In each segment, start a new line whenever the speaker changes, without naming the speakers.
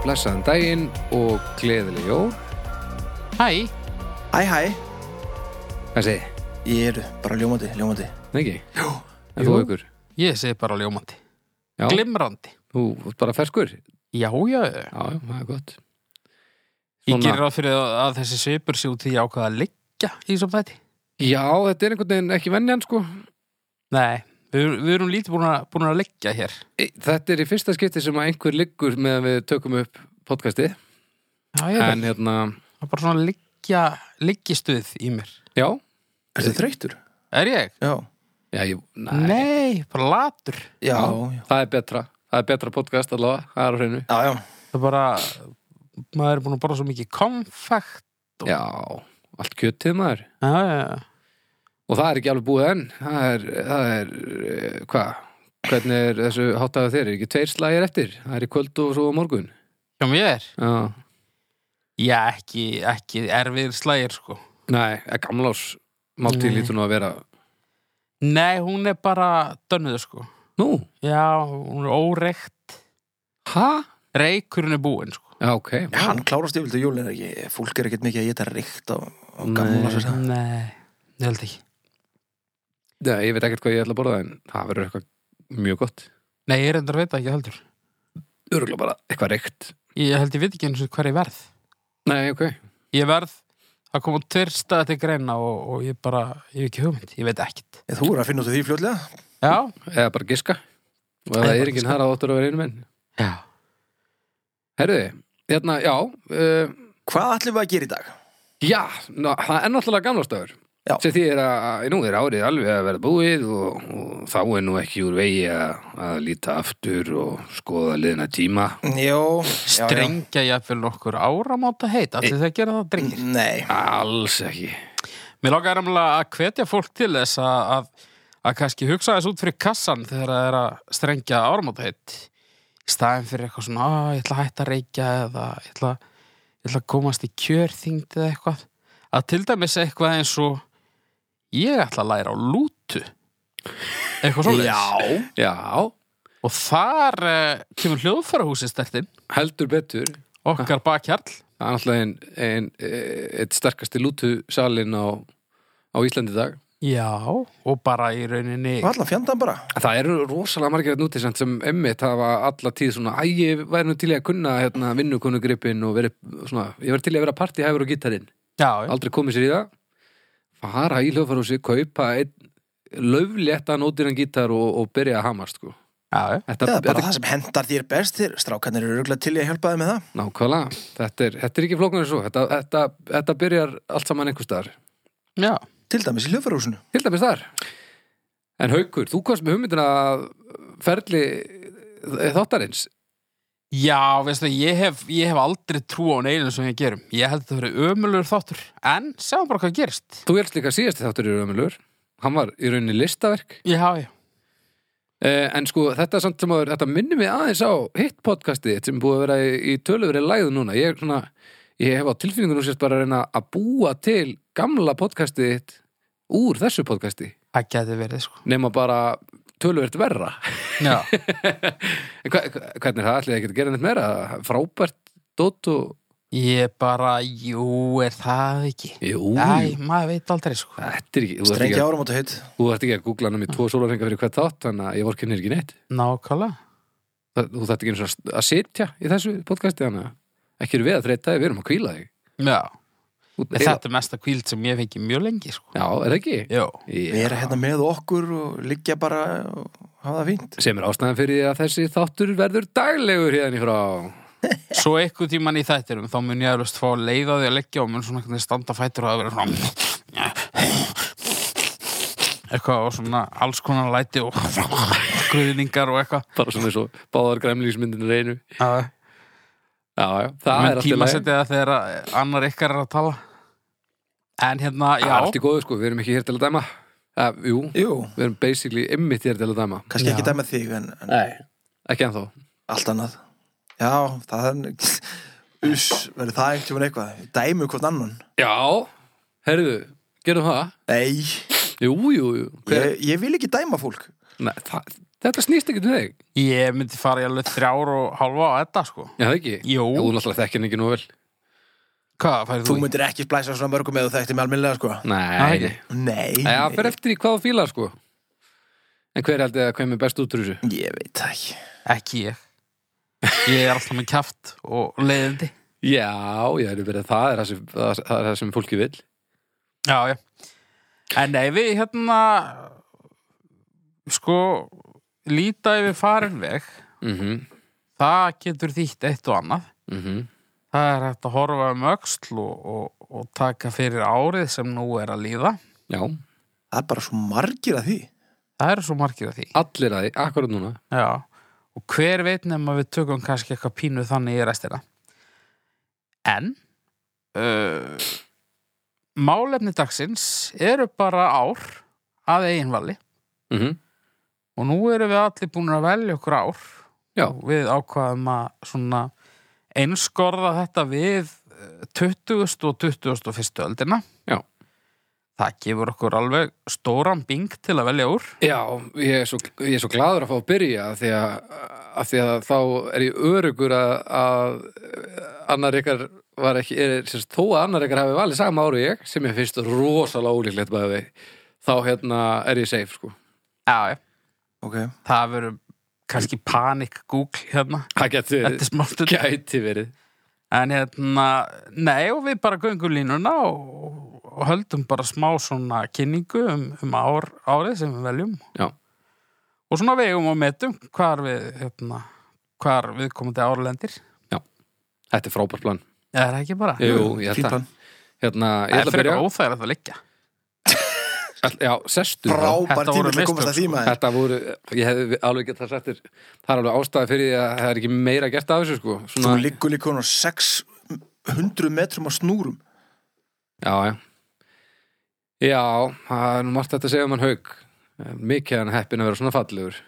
blessaðan daginn og gleðileg jól.
Hæ,
Hæ, hæ,
Hvað segið?
ég er bara ljómandi, ljómandi.
Nei ekki? Jú. En þú
Jú.
ykkur?
ég segi bara ljómandi,
Já.
glimrandi.
Þú ert bara ferskur? Já,
Já, já, já.
já, það er gott.
Ég
Svona-
gerir ráð fyrir að að þessi svipur sé út í ákvaða að liggja í þessum þætti.
Já, þetta er einhvern veginn ekki vennjan sko.
Nei, við, við erum lítið búin að, búin að liggja hér.
E, Þetta er í fyrsta skipti sem að einhver liggur meðan við tökum upp podcastið.
Já, ég
En
veit.
hérna,
Það er bara svona liggja, liggjistuð í mér.
já.
Er þið þreytur?
Er ég?
Já.
Já, ég,
Nei, bara latur.
Já, já.
Það er betra. Það er betra podcast allavega. Það er á hreinu.
Já, já.
Það er bara, maður er búin að borða svo mikið konfekt.
Já, allt kjötið maður.
Já, já, já.
Og það er ekki alveg búið enn. Það er, það er eh, hvað? Hvernig er þessu háttaðu þeir? Er ekki tveir slægir eftir? Það er í kvöld og svo á morgun.
Hjá mér?
Já.
Já, ekki, ekki erfið slægir, sko.
Nei, gamlás máltíð
Nei.
lítur nú að vera.
Nei, hún er bara dönnuð, sko.
Nú?
Já, hún er óreikt.
Ha?
Reykurinn er búinn, sko.
Já, ok.
Já, hann klárast yfir til jólin er ekki. Fólk er ekkert mikið að geta ríkt á, á gamla sér það.
Nei, ég held ekki.
Nei, ég veit ekkert hvað ég ætla að borða en það verður eitthvað mjög gott.
Nei, ég reyndar að veita ekki heldur.
Örgulega bara eitthvað reykt.
Ég held ég veit ekki eins og hver ég verð.
Nei, ok.
Ég verð að koma tveir staði til greina og, og ég bara, ég hef ekki hugmynd, ég veit ekkert.
Ég, þú er að finna út af því fljótlega.
Já,
Eða bara giska. Og ef
Eða
það
bara
er ekki
giska.
þar að áttur að vera einu menn.
já.
Herruði, hérna, já, uh,
Hvað ætlum við að gera í dag?
já, ná, það er náttúrulega gamlástöður.
Já.
sem því er að nú er árið alveg að vera búið og, og þá er nú ekki úr vegi að, að líta aftur og skoða liðna tíma
Jó. já, já.
Strengja jafnvel okkur áramóta heit, allir það gera það drengir.
Nei.
alls ekki
Mér langar erumlega að hvetja fólk til þess að, að, að kannski hugsa þess út fyrir kassan þegar það er að strengja áramóta heit. Í staðin fyrir eitthvað svona, að ég ætla að hætta að reykja eða ég ætla, ég ætla að komast í kjörþyngd eða eitthvað. Að til dæmis eitthvað eins og ég ætla að læra á lútu. Eitthvað svona.
Já.
já,
Og þar uh, kemur hljóðfærahúsið stertinn,
heldur betur það
okkar bakhjarl.
er náttúrulega ein, ein, eh, eitt sterkasti lútu salin á, á Íslandi í dag
Já, og bara í rauninni...
Hvað ætla að fjanda hann bara?
það eru rosalega margir hérna úti samt sem emmitt hafa alla tíð svona æ, ég væri nú til í að kunna hérna, vinnukonugripin og veri, svona, ég væri til í að vera partíhæfur og gítarinn
Já, já.
aldrei komið sér í það fara í hljófarhúsi, kaupa einn löflétta nótinan gítar og, og byrja að hamast sko.
já, já.
þetta,
Það er bara
þetta,
það sem hendar þér best þér. Strákarnir eru röglega til í að hjálpa þið með það.
nákvæmlega þetta er, þetta er ekki flóknar svo þetta, þetta, þetta byrjar allt saman einhvers staðar
Já,
Til dæmis í hljófarúsinu.
til dæmis þar en Haukur, þú komst með hugmyndina að ferli þáttarins
já veistu, ég hef, ég hef aldrei trú á neilinu sem ég gerum. Ég held að það verið ömulur þáttur, en sjáum bara hvað gerist.
þú helst líka síðasti þáttur í raumilur hann var í rauninni listaverk
Já, já.
eh, en sko þetta samt sem áður, þetta minnir mig aðeins á hitt podcastið þitt sem er búið að vera í, í töluveri læðu núna ég, er svona, ég hef á tilfinningunum sérst bara að reyna að búa til gamla podcastið þitt úr þessu podcasti
Það geti verið, sko.
nema bara töluvert verra
Já,
En hva, hva- hvernig er það ætlið ekki að gera neitt meira frábært dót og
ég bara, jú, er það ekki.
jú,
Æ, maður veit aldrei, sko.
þetta er ekki þú ert ekki,
Strengja
að-
áramóta heit.
þú ert ekki að googla hann um í tvo sólarhengar fyrir hvert þátt þannig að ég vor kynir ekki neitt
Nákvæmlega.
Það- þú þarft ekki einu sinni að- að sitja í þessu podcasti þannig að ekki eru við að þreyta þig, við erum að kvíla þig
Já,
Út,
Eila. þetta er mesta kvíld sem ég fengi mjög lengi, sko.
já, er það ekki?
Jó.
Við erum hérna með okkur og liggja bara og hafa það fínt.
sem er ástæðan fyrir því að þessi þáttur verður daglegur hérna í frá
Svo eitthvað tíman í þættirum, þá mun ég alveg fá að leiða því að leggja og mun svona einhvern veginn standa fættur og að vera svona eitthvað og svona alls konar læti og gruðningar og eitthvað
bara svona eins og báðar græmlíksmyndin reynu
Já,
já, já, það er
mun
allt í
tíma
lagi.
setja það þegar að annar ykkar er að tala En hérna,
Það er allt í
já,
góðu sko, við erum ekki hér til að dæma eh, jú,
Jú.
við erum basically ymmit hér til að dæma
Kannski ekki
Já.
dæma þig en, en
Nei. ekki ennþá
allt annað já, það er uss, verður það einhvern veginn eitthvað dæmu hvort annan
já, herðu, gerum það
nei,
jú, jú, jú Hver,
ég, ég vil ekki dæma fólk
Nei, það, Þetta snýst ekki til þig.
Ég myndi fara í alveg þrjár og hálfa á þetta, sko.
Já, það ekki?
Jú.
Já, þú náttúrulega þekkir hann ekki nú vel.
Hvað færðu
Þú
þú?
myndir ekki splæsa svona mörgum eða þekkti með alminlega sko
Nei,
Nei.
nei.
Nei,
Nei, það
nei,
fer eftir í hvað þú fílar, sko. En hver held ég að kemur best út úr þessu?
ég veit það ekki
Ekki ég. Ég er alltaf með kjaft og leiðindi.
Já, já, er verið, það, er það, sem, það, það er það sem fólki vil.
Já, já. En nei, við hérna, sko, líta yfir farin veg.
Mm -hmm.
Það getur þýtt eitt og annað.
mhm.
Það er hægt að horfa um öxl og, og, og taka fyrir árið sem nú er að líða.
Já,
Það er bara svo margir að því
Það eru svo margir af því.
allir að því, akkurat núna.
Já. Og hver veit nema við tökum kannski eitthvað pínu þannig í restina. En uh, málefni dagsins eru bara ár að eiginvali
Mm
og nú erum við allir búin að velja okkur ár
Já.
og við ákvaðum að svona einskorða þetta við eh, 20. og 21. öldina
Já.
Það gefur okkur alveg stóran bing til að velja úr
Já, ég er, svo, ég er svo gladur að fá að byrja af því að, að, því að þá er ég örugur að, að annar ykkar var ekki, er, sérst, þó að annar ykkar hafi valið sama ári ég, sem ég finnst rosalega ólíklegt bæði við, þá hérna er ég safe, sko.
Já, já
Ok,
Það verður kannski panik Google hérna
Það gæti verið.
Þetta er smátt
Gæti verið.
En hérna, nei og við bara göngum línuna og, og höldum bara smá svona kynningu um, um ár, árið sem við veljum
Já.
og svona vegum og metum hvar við, hérna, hvar við komandi árlendir
Þetta er frábært plan.
Eða er það ekki bara?
Jú, ég held að.
fípan
Hérna, ég
Það
ætla
er
að byrja.
frekar óþægilegt að liggja
All- Já, sestu þá.
Frábær
Þetta voru
tími til að komast
mistök,
að því maður
Þetta voru, ég hef alveg gett það sættir, það er alveg ástæði fyrir því að það er ekki meira gert af þessu, sko.
Þú
Svona,
liggur líka hún á 600 metrum á snúrum
Já, já. Já, það er nú margt þetta að segja um hann haug. Mikið er hann heppin að vera svona fallegur.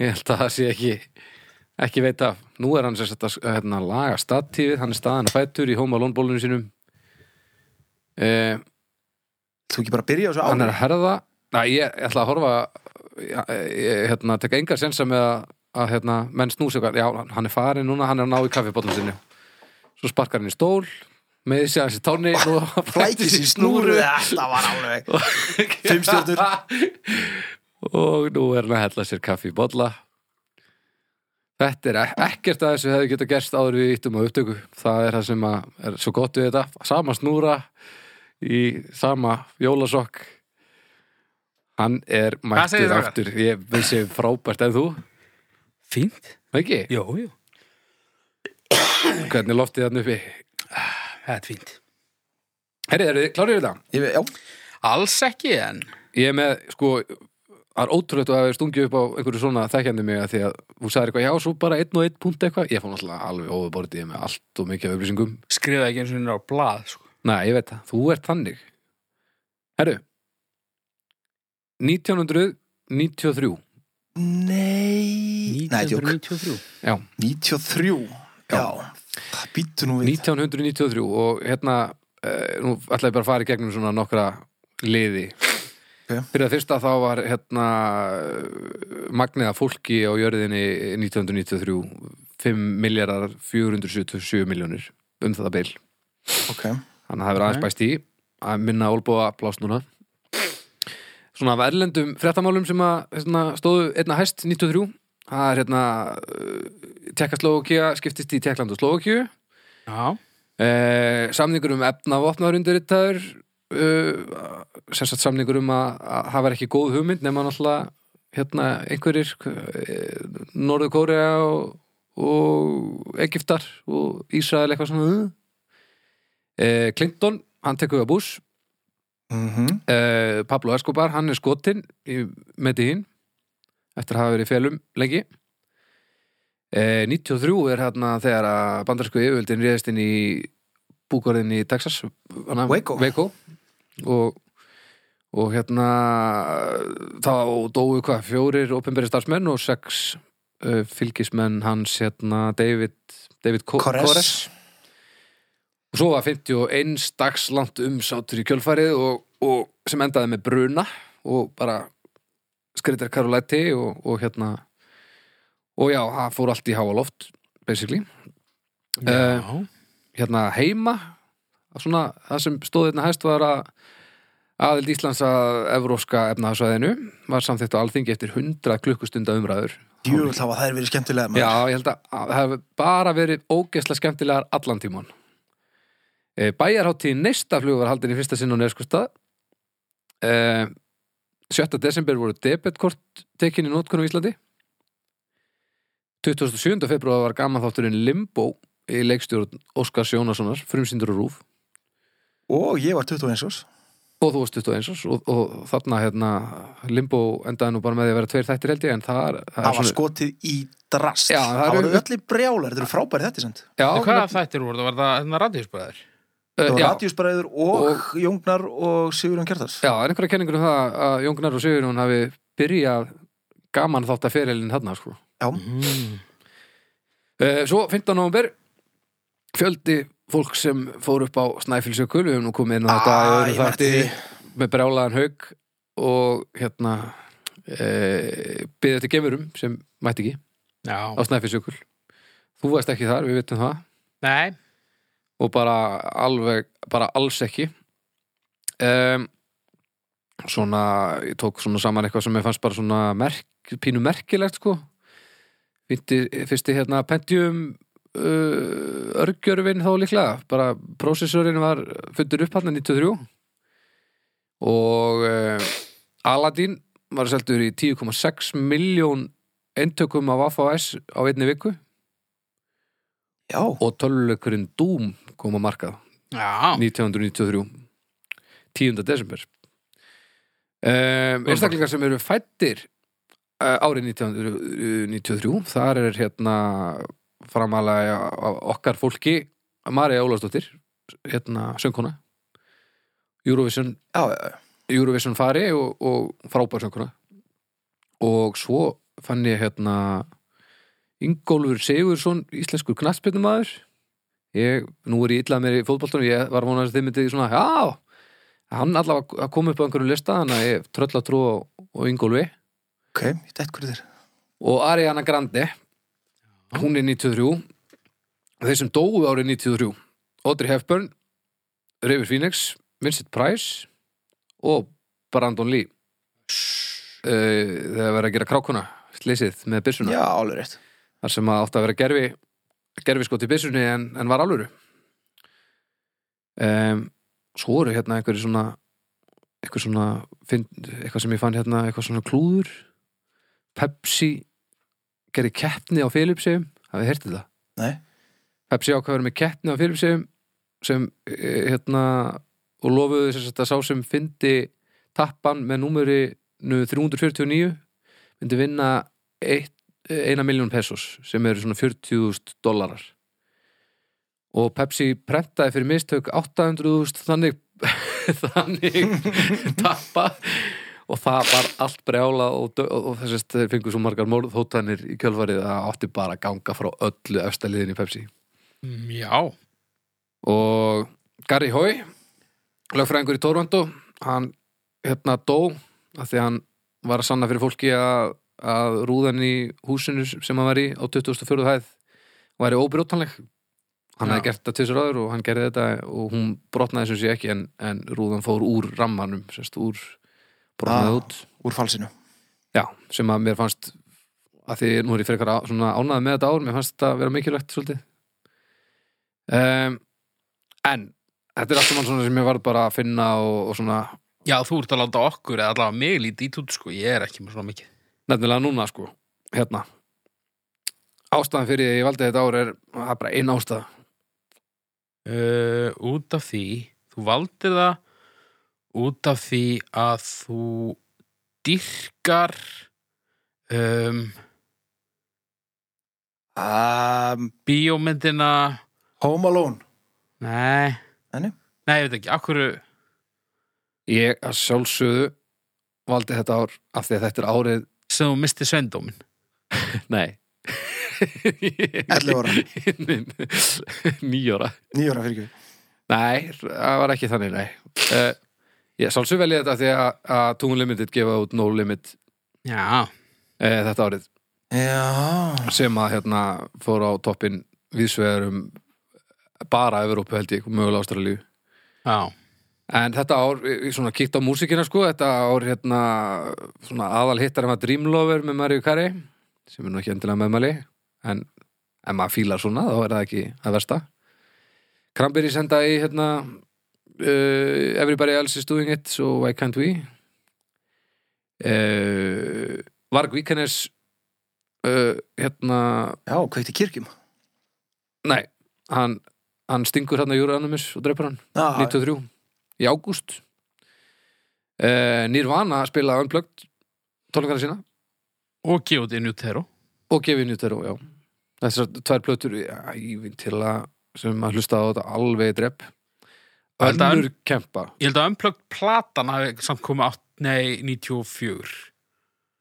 Ég held að það sé ekki, ekki veit af. Nú er hann sem sett að hérna, laga statífið, hann er staðan að fættur í Home Alone bólunum sínum. Eh,
Þú ekki bara að byrja á þessu
hann
ári
er að herða. Næ, ég, ég ætla að horfa, ég, ég, hérna, teka engar sensa með að, að hérna, menn snúsi okkar. Já, hann er farin núna, hann er að ná í kaffibólunum sinni. Svo sparkar hann í stól, með þessi að þessi tónni.
Flækis í snúru Þetta var alveg Fimm stjörnur
og nú er hann að hella sér kaffi í bolla Þetta er e- ekkert að þessu hefði geta gerst áður við íttum á upptöku það er það sem að er svo gott við þetta sama snúra í sama jólasokk hann er
segir
mættur
Ragnar?
aftur ég vissi frábært en þú
Fínt?
ekki,
Jú, jú,
hvernig er loftið hann uppi
það er fínt
Herri, eru þið klárið við það?
Ég veit- Já,
Alls ekki en
Ég er með, sko, það er ótrúlegt að hafa stungið upp á einhverju svona þekkjandi mig að því að þú sagðir eitthvað, já, svo bara einn og einn punkt eitthvað. Ég fór náttúrulega alveg ofurbordið með allt og mikið af upplýsingum.
skrifa ekki eins og hún er á blað sko.
Nei, ég veit það, þú ert þannig. Herru, 1993,
Nei Nei, tjók
1993
já,
93 Já, það býttu nú við
1993 og hérna, eh, nú ætla ég bara að fara í gegnum svona nokkra liði.
Ok.
Fyrir að fyrsta þá var hérna magniða fólki á jörðinni 1993 5 miljardar 477 miljónir um þetta bil.
Ok,
Þannig að það hefur aðeins
Ok.
bæst í að minna olbúa plást núna. Svona af erlendum fréttamálum sem að hérna, stóðu einna hæst 93 það er hérna Tjekkaslókia skiptist í Tjekkland og Slókiu
Já,
Eh, samningur um efnavopnaður undirritaður uh, sem sagt samningur um að, að það var ekki góð hugmynd nema náttúrulega hérna einhverjir eh, Norður Kórea og, og Egiptar og Ísrael eitthvað svona eh, Clinton, hann tekur við að bús
mhm
eh, Pablo Escobar, hann er skotin í Medellín eftir að hafa verið í felum lengi eh, 93 er hérna þegar að bandarsku yfirvöldin réðist inn í búkorðin í Texas hana,
Waco.
og, og hérna þá dóu hvað fjórir opinberi starfsmenn og sex uh, fylgismenn hans hérna David, David Co- Kores
Kores
og svo var 51 dags langt umsátur í kjölfarið og, og sem endaði með bruna og bara skritar Karoletti og, og hérna og já, það fór allt í háa loft basically Eh,
Já.
hérna heima svona, það sem stóð hérna hæst var að aðild Íslands að evróska efnaðsvæðinu var samþykkt á alþingi eftir 100 klukkustunda umræður
Jú, það var þær verið skemmtilega maður.
Já, ég held að að það hefur bara verið ógeðslega skemmtilegar allan tíman Bæjarháttíðin neista flug var haldin í fyrsta sinn á nefskusta 7. desember voru debetkort tekin í nótkunum í Íslandi 27. februar var gaman þátturinn Limbo í leikstjórn Óskars Jónassonar, frumsýndur og rúf
Og ég var 21 árs.
og þú varst 21 árs og, og þarna hérna, Limbo endaði nú bara með því að vera tveir þættir held ég en það er, það
Það
er
var sko- skotið í drast.
Já, það
það
eru- Eh,
var öllir brjálar. Þetta eru frábæri þetta, sent.
já,
En Hvaða þættir voru? Það var það hérna radíusbræður?
eh,
Það var
já,
Radíusbræður og, Jóngnar og Sigurjón Kjartars.
Já, er einhverja kenningur um það að Jóngnar og Sigurjón hafi byrjað gaman þátt að fyrirlin þarna, sko.
Mm.
Eh, Svo 15. november fjöldi fólk sem fór upp á Snæfilsjökul, við höfum nú komið inn á þetta í öðrum þætti með brjálaðan haug og hérna e, byrðið til gemurum sem mætti ekki á
Já.
Snæfilsjökul. Þú varst ekki þar, við vitum það.
Nei.
og bara alveg, bara alls ekki um, svona, ég tók svona saman eitthvað sem ég fannst bara svona merk, pínu merkilegt sko Fyndi, fyrsti hérna Pentium uh, örgjörfin þá líklega bara prósessorinn var fundur upp hann 93 og uh, Aladdin var seldur í 10,6 miljón eintökum af AFAS á einni viku
Já,
og töluleikurinn Doom kom á markað
Já.
1993 10. desember um, einstaklingar sem eru fættir uh, árið 1993 þar er hérna framalega af okkar fólki Marja Ólafsdóttir hérna söngkona Eurovision,
já, já, já.
Eurovision fari og, og frábær söngkona og svo fann ég hérna Ingólfur Sigursson íslenskur knattspyrnumæður ég, nú er ég illa mér í fótboltunum ég var vonað að þið myndið svona já, hann allavega að koma upp á einhverjum lista þannig að ég tröll að trúa og Ingólfi
Ok, ég dætt hverju þér.
og Ariana Grande hún er 93 þeir sem dóu árið 93 Audrey Hepburn River Phoenix, Vincent Price og Brandon Lee uh, þegar verið að gera krákuna slysið með byrsuna
Já, alveg rétt.
þar sem að átti að vera gerfi gerfi skot í byssunni en, en var alvöru um, svo eru hérna einhverju svona eitthvað svona finn, eitthvað sem ég fann hérna, eitthvað svona klúður Pepsi gerði keppni á Filipsum hafið hirtið það?
Nei.
Pepsi ákvæður með keppni á Filipsum sem eh, hérna og lofuðu þess að sá sem fyndi tappan með númeri 349 myndi vinna eitt eh, eina miljón pesos sem eru svona 40.000 dólarar og Pepsi prentaði fyrir mistök 800.000 þannig þannig tappa og það var allt brjála og, dö- og, og þessist þeir fengur svo margar mórðhóttanir í kjölfarið að það átti bara að ganga frá öllu öfstaliðin í Pepsi
Mm, Já.
og Gary Hoy lögfræðingur í Toronto hann hérna dó af því að hann var að sanna fyrir fólki að, að rúðan í húsinu sem hann var í á 2004. hæð væri óbrjótanleg hann
Já.
hefði gert þetta tvisur áður og hann gerði þetta og hún brotnaði sem sé ekki en, en rúðan fór úr rammanum sérst, úr brotnaði
Ah.
út
Úr falsinu.
Já, sem að mér fannst að því nú er ég frekar á- svona ánæði með þetta ár mér fannst þetta að vera mikilvægt svolítið um, En þetta er allt saman svona sem ég var bara að finna og, og svona
Já, þú ert að láta okkur eða allavega mig lítið í tút, sko. Ég er ekki með svona mikið.
nefnilega núna sko hérna Ástæðan fyrir því að ég valdi þetta ár er það er bara einn ástæða
Uh, út af því, þú valdir það út af því að þú dyrkar um,
Um,
bíómyndina,
Home Alone.
nei,
Nei, nei.
nei, ég veit ekki, akkur,
Ég að sjálfsögðu valdi þetta ár af því að þetta er árið
sem þú misti sveindómin.
Nei
11 ára.
Nýjóra
Nýjóra fyrir ekki.
Nei, það var ekki Eh, þannig, nei uh, Ég sálsum vel ég þetta af því að, að Tungum Limited gefa út No Limit
Já,
e, þetta árið
Já,
sem að hérna fór á toppin viðsvegar um bara Evrópu held ég, mögulega Ástralíu
já,
En þetta ár, ég svona kýtt á músikina sko, þetta ár hérna svona aðal hittar um að Dreamlover með Maríu Kari, sem er nú ekki endilega meðmæli, en ef maður fílar svona, þá er það ekki að versta. Krambir í senda í hérna uh, Everybody Else is Doing It, so why can't we? Uh, Varg Víkernes uh, hérna,
já, kveikt í kirkjum
nei, hann, hann stingur hérna Júra Animus og dreipur hann.
Já,
93 í ágúst uh, Nirvana spilaði Unplugged tónleikana sína
og Gjóti Nutero
og gefið Nutero, já þessar tvær plötur, já, ég vinn til að sem að hlusta á þetta alveg í drepp
Held að-
önnur kempa
Ég held að umplögt platan hafi samt komið átt, nei, 94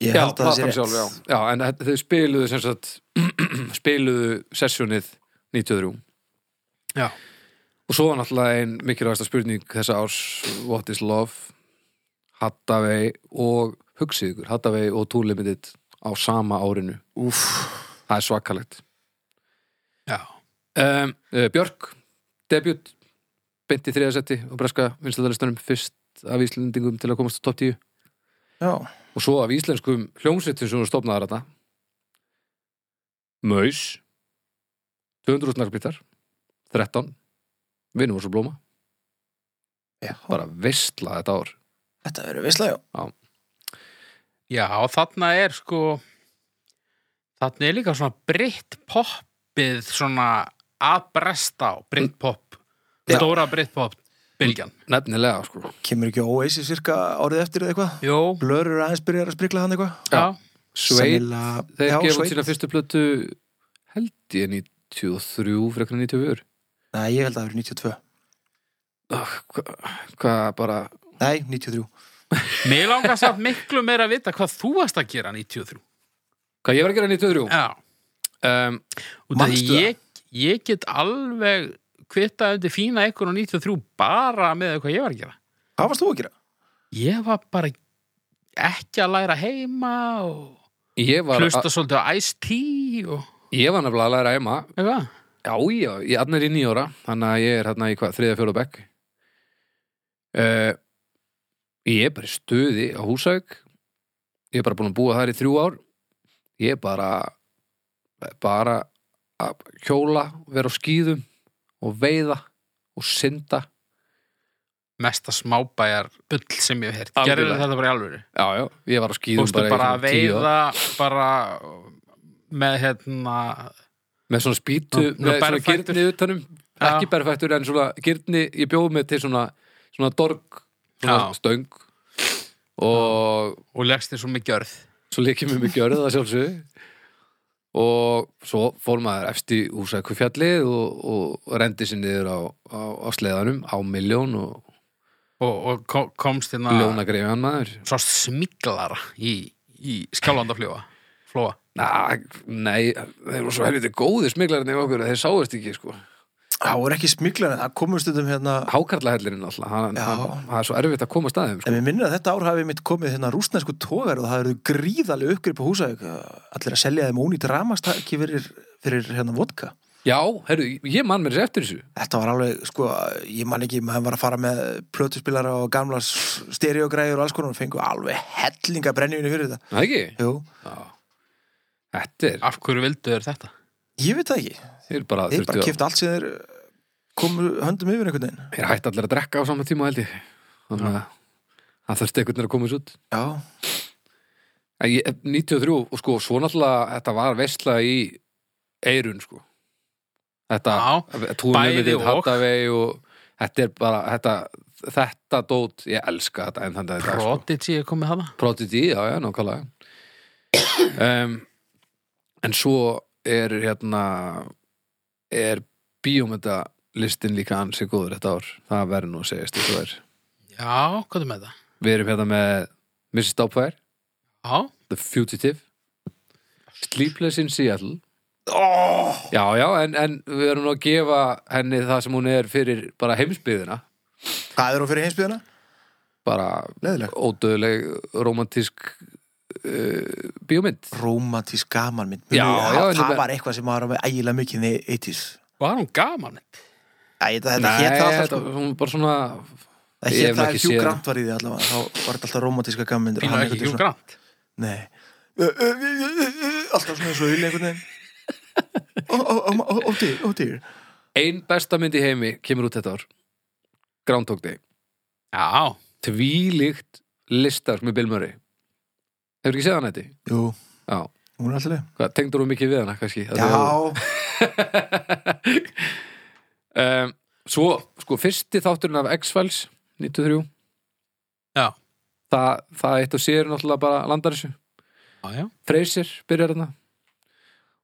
ég
já,
held að það sé
platan sjálf, já. já en þe- þau spiluðu sem sagt spiluðu sessjónið 93
Já.
og svo var náttúrulega ein mikilvægasta spurning þessa árs What is Love Hattavei og hugsið ykkur, Hattavei og Tool Limited á sama árinu
Úf,
Það er svakalegt.
Já, Ehm,
Um, uh, Björk, debut, beint í þriðasetti og breska vinstlæðarlistunum fyrst af Íslendingum til að komast á topp 10
já,
og svo af íslenskum hljómsveitum sem voru stofnaðar þetta. Maus, 200.000 naglbítar, 13, vinnum og svo blóma,
já
bara veistla þetta ár.
Þetta verður veistlega, já
já, þarna er sko Þarna er líka svona britt poppið svona að bresta á britt popp
Já.
Stóra britt popp, bylgjan
Nefnilega, sko.
Kemur ekki Oasis cirka árið eftir eða eitthvað
Jó,
Blörur aðeins byrjar að sprikla hann eitthvað
já,
Sveit,
Sennilega-
þeir
já,
gefa út
Sveit.
sína fyrstu plötu held ég 93, frekna 94.
Nei, ég held að það verður 92
Oh, Hvað, hva, bara,
Nei, 93
Mér langar samt miklu meira að vita hvað þú varst að gera 93.
hvað ég var að gera 93?
Já.
Um,
Út af
Ehm, Manstu
því ég, ég get alveg kvittað undir fína einhvern á 93 bara með hvað ég var að gera.
Hvað varst þú að gera?
Ég var bara ekki að læra heima og
ég var,
hlusta svolítið á Ice-T og
ég var nefnilega að læra heima
eitthvað.
já, já, ég annar í nýjóra þannig að ég er hérna í hvað, þriða fjóra bekk uh, ég er bara í stuði á Húsavík ég er bara búin að búa þar í þrjú ár ég er bara bara að hjóla vera á skýðum og veiða og synda
Mesta smábæjar bull sem ég hef heyrt.
Algjörlega.
Gerðu þetta bara í alvöru.
já, já, ég var á
Þú
skýðum
veist
í
bara að
svona tíu ár.
veiða bara með hérna
með svona spýtu
Já,
með svona
berfættur.
gyrni utanum
Já.
ekki berfættur en svona gyrni ég bjóð með til svona, svona dorg svona
Já.
stöng og
og legst þér svo mikið örð.
svo líkjum við mig gjörðu það sjálfsög og svo fór maður efst í húsækufjallið og, og rendi sér niður á, á, á sleðanum á miljón og
Og, og ko- komst hérna
ljóna greiðan maður
svo smiglara í, í skjálfandafljóa flóa
Na, nei, þeir voru svo helviti góði smiklarinn yfir okkur að þeir sáist ekki sko.
Það voru ekki smiklan en það komum stundum hérna
hákarlahellirinn alltaf hann,
Já.
hann, það er svo erfitt að koma staðum sko.
En mér minnir að þetta ár hafi mitt komið hérna rúsnesku tógar og það eru gríðaleg uppgrip á húsavík allir að selja þeim ónýtt ramastakki fyrir, fyrir hérna vodka
já, heyrðu, ég man mér þessi eftir þessu
Þetta var alveg, sko, ég man ekki maður var að fara með plötuspilara og gamla s- stereogræður og alls konar og fengu alveg hellinga brennjunni fyrir þetta
Það ekki?
Jú,
Já. Þetta er,
af hverju vildu þér þetta?
ég veit það ekki
þeir bara
Þeir
þurftu
bara
að,
kipta allt sem þeir eh, komu höndum yfir einhvern veginn
þeir hætti allir að drekka á sama tíma held ég. Þannig að það þurfti einhvern veginn að koma þessu út.
Já,
En ég, 93, og sko, svo náttúrulega þetta var vesla í eirun, sko. Þetta,
bæði
túnlemiðið,
og.
hattavei og þetta er bara, þetta, þetta dót, ég elska þetta en þannig að þetta, sko.
Prodigy er komið hana
Prodigy, já, já, nákvæmlega um, En svo er hérna er bíómyndalistin líka ansi góður þetta ár það verður nú að segjast eins og er
já, hvað er með það?
Við erum hérna með Mrs. Doubtfire,
já,
The Fugitive Sleepless in Seattle
oh,
Já, já, en, en við erum nú að gefa henni það sem hún er fyrir bara heimsbyðina
Hvað er þú fyrir heimsbyðina?
bara
Leðileg
ódöðleg romantísk uh, bíómynd
Rómantísk gaman mynd
Já, já,
það,
þetta-
það var eitthvað sem var alveg ægilega mikið í 80s
Var hún gaman?
Æ, þetta, þetta hét það alltaf sko.
þetta- hún var bara svona
Það
ég hef
hét
nú
það
ekki
að Hugh
séð
Grant var í því allavega þá var þetta alltaf romantíska gaman
Býna ekki Hugh Grant
Nei Ö, ö, ö, ö, ö, ö, Alltaf svona svo yl einhvern veginn Ó, ó, ó, ó, ó, dear, ó, dear
ein besta mynd í heimi kemur út þetta ár Groundhog Day
Já,
tvílíkt listar með Bill Murray hefur ekki séð hann þetta?
Jú,
Já,
hún er alltaf leið
hvað, tengdur þú mikið við hana kannski? Að þú-
Já,
um, Svo, sko, fyrsti þátturinn af X-Files 93
Já.
Þa, Það eitt og sér náttúrulega bara landar þessu
já, já
Freysir byrjar þarna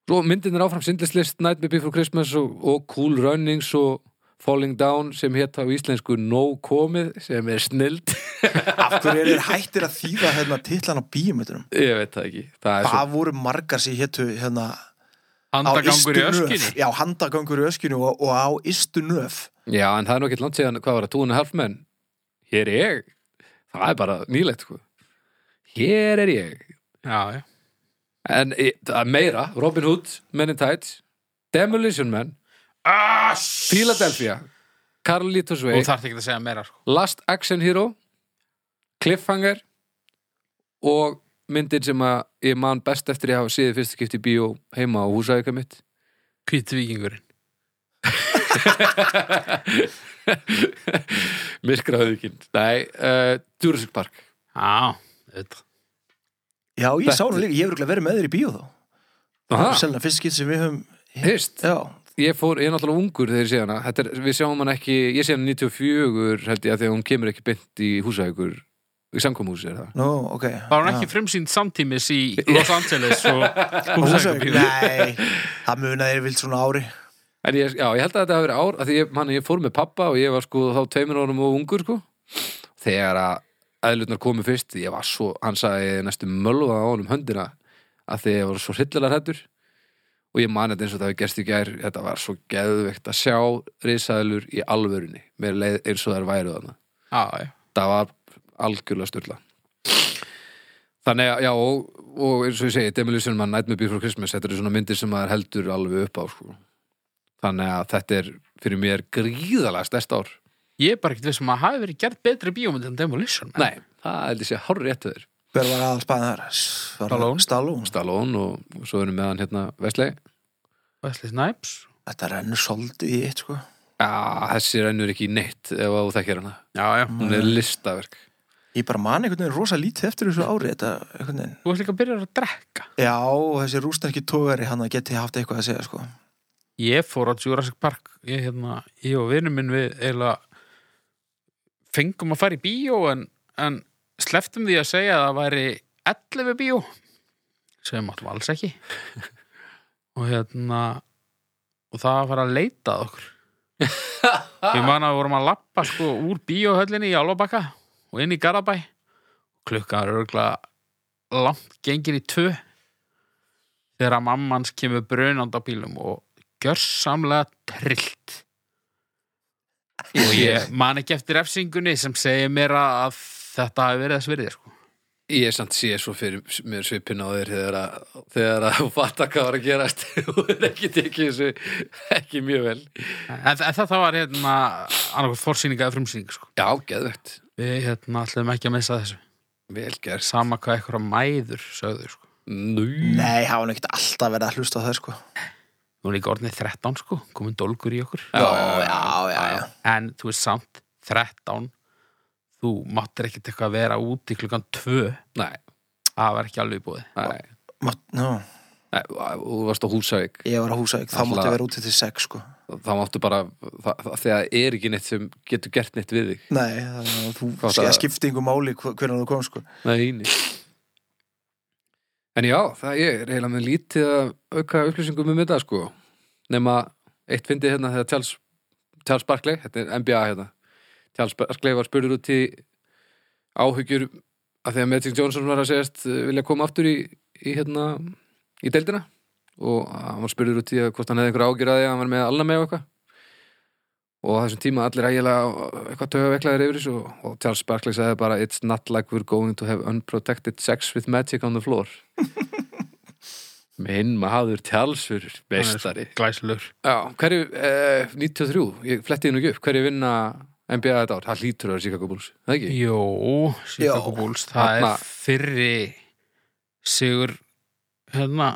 Svo myndin er áfram Sindlislist, Night Before Christmas og, og Cool Runnings og Falling Down sem hétt á íslensku No Komið sem er snild
af hverju er þeir hættir að þýða hérna titlan á bíumetunum
Ég veit það ekki Það er svo
Það voru margar sem hétu hérna á
Handagangur í
ystu nöf.
öskinni
Já, handagangur í öskjunni og, og á istu nöf
Já, en það er nú ekkert langt síðan hvað var að túna halfmenn Hér er ég Það er bara nýlegt sko Hér er ég
Já, já
En í- það er meira, Robin Hood, Men in Tights, Demolition Man,
Ass
Philadelphia, Carlitos
Þú
Way,
þarft ekki að segja meira sko
Last Action Hero, Cliffhanger og myndir sem að ég man best eftir ég hafa séð fyrst skipti í bíó heima á húsæðika mitt.
Kvítvíkingurinn
Myrkraðuðkinn. Nei, uh, Jurassic Park.
Já, þetta
Já, ég
Þetta-
sá hún líka, ég hef örugglega verið með þér í bíó þá
Ah.
Aha,
Selna fyrst skitt sem við höfum
Hist,
Já,
ég fór, ég er náttúrulega ungur þegar ég sé hana Þetta er, Við sjáum hana ekki, ég sé hana 94 held ég að því að hún kemur ekki beint í húsækur í samkomhúsi er það
nú, ok
Var hún ekki frumsýnd samtímis í Los Angeles og Húsækabíu
Húsavík? Nei, það munaði vilt svona ári
En ég, já, ég held að þetta hafi verið ár að því ég, manni, ég fór með pappa og ég var sko þá tveimur árum og ungur sko þegar að eðlutnar komu fyrst ég var svo, hann sagði ég næstum mölva á honum höndina að því ég var svo hryllilega hættur og ég man þetta eins og það hafi gerst í gær þetta var svo geðveikt að sjá risaðlur í alvörunni mér leið eins og þær væru þarna
Já, já
það var algjörlega styrla þannig að, já, og, og eins og ég segi Demolition Man, Nightmare Before Christmas þetta eru svona myndir sem maður heldur alveg upp á sko. þannig að þetta er fyrir mér gríðalega stærst ár
Ég er bara ekkert vissum að hafi verið gert betri bíómynd en Demolition Man.
nei, það held ég sé hár rétt við þér
Hver var aðal spæðan þar? S- var það
Stallone.
Stallone
Stallone og, og svo erum við hann hérna Vesley
Wesley Snipes
Þetta rennur svolítið í eitt sko
Já, þessi rennur ekki í neitt ef að þú þekkir hana.
Já, já
Hún er listaverk.
Ég bara man einhvern veginn rosa lítið eftir þessu ári þetta, einhvern veginn
Þú ert líka að byrja að drekka
Já, og þessi rúsnarki tógari hann geti haft eitthvað að segja sko
Ég fór á Jurassic Park Ég, hérna, ég og vinnum minn við eiginlega fengum að fara í bíó en, en sleftum því að segja að það væri 11 bíó sem áttum alls ekki og hérna og það var að fara að leita að okkur Við man að við vorum að lappa sko úr bíóhöllinni í Álfabakka og inn í Garabæ klukkan er örgulega langt gengin í tvö þegar að mammans kemur brunand á bílum og gjörsamlega trillt og ég man ekki eftir refsingunni sem segir mér að þetta hafi verið þess virði sko.
Ég samt sé svo fyrir mér svipin á þér þegar að, þegar að þú fattar hvað var að gerast og er ekki tekið þessu ekki mjög vel.
en, en þetta var hérna annarkoð fórsýninga eða frumsýning sko.
Já, geðvegt.
við hérna ætlum ekki að missa þessu
Vel gerst.
sama hvað eitthvað mæður sögðu sko.
Nú.
Nei, hafa hann ekkert alltaf verið að hlusta á það sko
Nú er líka orðnið 13 sko, komin dólgur í okkur
Já, já, já.
já, já.
En þú veist samt, 13 Þú máttir ekkert eitthvað að vera úti klukkan 2
Nei,
Það var ekki alveg búið
nei,
Mátt, Nú,
nei, þú varst á húsæk,
ég var á húsavík, þá
Alla-
mátti vera úti til sex sko
þá máttu bara, það, það, þegar er ekki neitt sem getur gert neitt við þig.
Nei, þannig að þú
Hvað
sé
það-
skipti einhver máli hvernig þú kom sko
Nei, eini. En já, það ég er eiginlega með lítið að auka upplýsingum um þetta sko. Nefna eitt fyndi hérna þegar Charles, Charles Barkley, þetta er NBA hérna. Charles Barkley var spurður út í áhyggjur að þegar Magic Johnson var að segjast eh, vilja koma aftur í, í hérna, í deildina og hann var spurður út í að hvort hann hefði einhver ágjur að því að hann var með alna með eitthvað og á þessum tíma allir ægilega eh, eitthvað tögaveiklaðir yfir þessu og Charles Barkley sagði bara it's not like we're going to have unprotected sex with magic on the floor minn maður Charles fyrir bestari
Glæslur.
Já, hverju, eh, 93, ég fletti hennu ekki upp, hverju vinna NBA þetta ár? Það hlýtur að vera Chicago Bulls, það ekki?
Jó, Chicago
Já.
Bulls. Það
Þarna-
er fyrri sigur hérna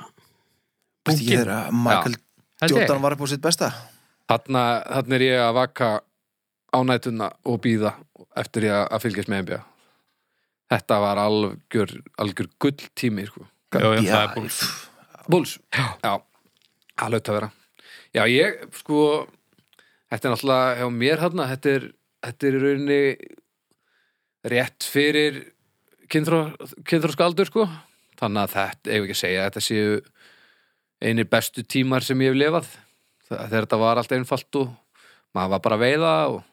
Veist ekki
Bunkin.
þegar að Michael
held ég.
Jordan var upp á sitt besta
Þarna, þarna er ég að vaka á nætuna og býða eftir ég að fylgjast með NBA. Þetta var algjör, algjör gull tími, sko.
Jó, já,
Já,
það er Bulls.
pff,
Bulls? Já. það laut að vera. Já, ég, sko, þetta er náttúrulega hjá mér hérna, þetta er, þetta er í rauninni rétt fyrir kynþróskaldur, sko. Þannig að þetta, ef ekki að segja, þetta séu einir bestu tímar sem ég hef lifað. Þa- Þegar þetta var allt einfalt og maður var bara að veiða og,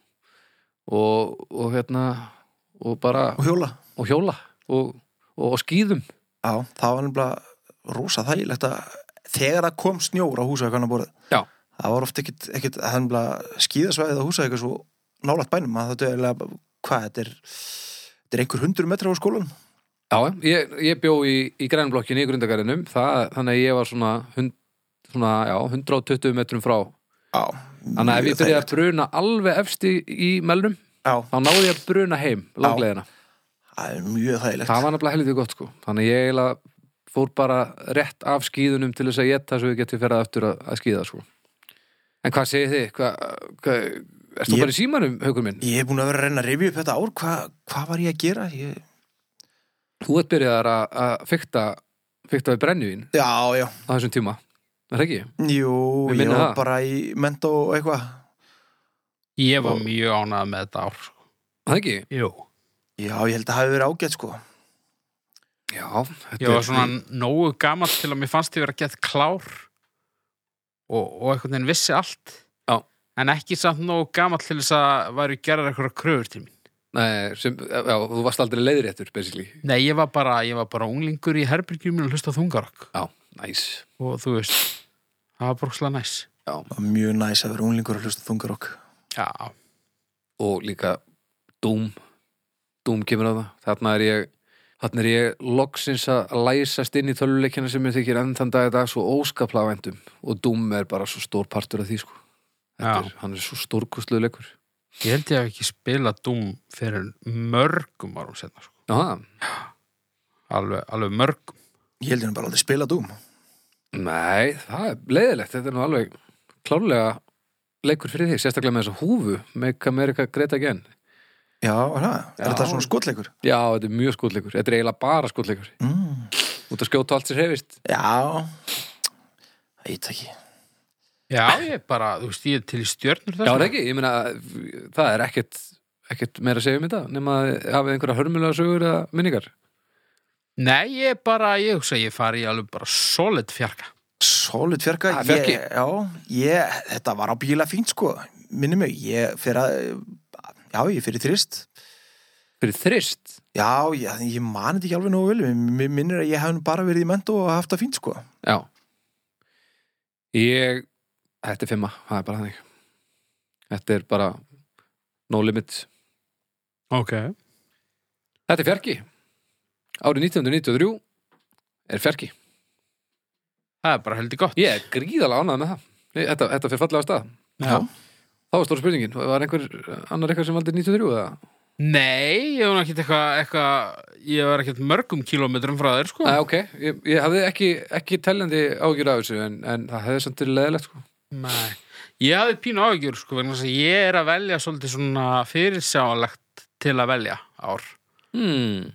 og, og hérna, og bara,
og hjóla
og hjóla og, og, og skýðum.
Já, það var nefnilega rosa þægilegt að þegar það kom snjór á húsækanaborð
Já.
það var oft ekkit, ekkit það er nefnilega skíðasvæðið á húsækja svo nálægt bænum að þetta er eiginlega, hvað, þetta er þetta er einhver hundur metra á skólan
Já, ég, ég bjó í, í grænblokkinni í grundagarinum, það, þannig að ég var svona, hund, svona já, 120 metrum frá.
Já,
Þannig að ef
mjög
ég byrjaði
þægilegt.
að bruna alveg efst í, í melnum,
Já,
þá náði ég að bruna heim langleðina.
það er mjög þægilegt
Það var nefnilega helviti gott sko. Þannig að ég eiginlega fór bara rétt af skíðunum til þess að geta svo ég geti ferða eftir að, að skíða sko. En hvað segir þið? Hva, hva, Erst þú
Ég-
bara í símanum, haukur minn?
Ég er búin að vera að reyna að rifja upp þetta ár hvað hva var ég að gera? Ég...
Þú ert byrjaðar að, að fykta, fykta við brennjuvín
Já, já,
á þessum tíma. Er það ekki?
jú,
Við
ég
minnum
var
það.
bara í mentó og eitthvað
Ég var mjög ánað með þetta ár. sko.
Er Það ekki?
Jú.
Já, ég held að það hafi verið ágætt sko
Já. þetta
Ég var
er-
svona nógu gamall til að mér fannst ég vera að geta klár og, og einhvern veginn vissi allt.
Já.
En ekki samt nógu gamall til þess að væri gerðar eitthvað kröfur til mín.
Nei, sem, já, þú varst aldrei leiðréttur, basically.
Nei, ég var bara, ég var bara unglingur í herbyrgjum og hlusta á þungarokk.
Já, næs.
Og þú veist, það var brókslega næs.
Það var Mjög næs að vera unglingur að hlusta þungar okk
Já.
Og líka Doom. Doom kemur á það. Þarna er ég, þarna er ég loksins að læsast inn í töluleikina sem ég þykir enn þann dag að það svo óskaplega vendum. Og Doom er bara svo stór partur af því, sko. Þetta
Já.
Er, hann er svo stórkostlega leikur.
Ég held ég hef ekki spilað dúm fyrir mörgum árum setna, sko.
Já, það.
Alveg, alveg mörgum.
Ég held ég nú bara aldrei spila dúm
Nei, það er leiðilegt. Þetta er nú alveg klárlega leikur fyrir þig. Sérstaklega með þessa húfu, Make America Great Again.
Já, er það?
Já.
Er þetta svona skotleikur?
Já, þetta er mjög skotleikur. Þetta er eiginlega bara skotleikur.
Mm.
Út að skjóta allt sér hefist.
Já Það veit ekki
Já, ég bara, þú veist, ég er til í stjörnur
Já,
þess.
er það ekki, ég meina það er ekkert, ekkert meira að segja um þetta nema að þið hafið einhverja hörmulega sögur eða minningar.
Nei, ég bara, ég hugsa, að ég fari í alveg bara solid fjarka.
Solid fjarka,
Ah, fjarki.
Ég, já, ég, þetta var á bíla fínt sko Minni mig, ég fyrir að Já, ég fyrir þrist
Fyrir þrist
Já, ég, ég mani þetta ekki alveg nógu vel Mér minnir að ég hef nú bara verið í mentó og haft það fínt sko
Já Ég, þetta er fimma það er bara þannig Þetta er bara no limit
Ok.
Þetta er fjarki Árið 1993 er fjarki
Það er bara heldur gott.
Ég er gríðalega ánægð með það Nei, Þetta, þetta fyrir fallega af stað
Já.
Þá var stóra spurningin, var einhver annar eitthvað sem valdi 93 eða?
Nei, ég var ekkert eitthvað, eitthva, ég var ekkert mörgum kílómetrum frá þér, sko.
Æ, ok, ég, ég hafði ekki, ekki teljandi ágjur af þessu en, en það hefði samt til leðilegt sko.
Nei. Ég hafði pínu áhyggjur, sko, vegna þess að ég er að velja svolítið svona fyrirsjáanlegt til að velja ár.
hmm.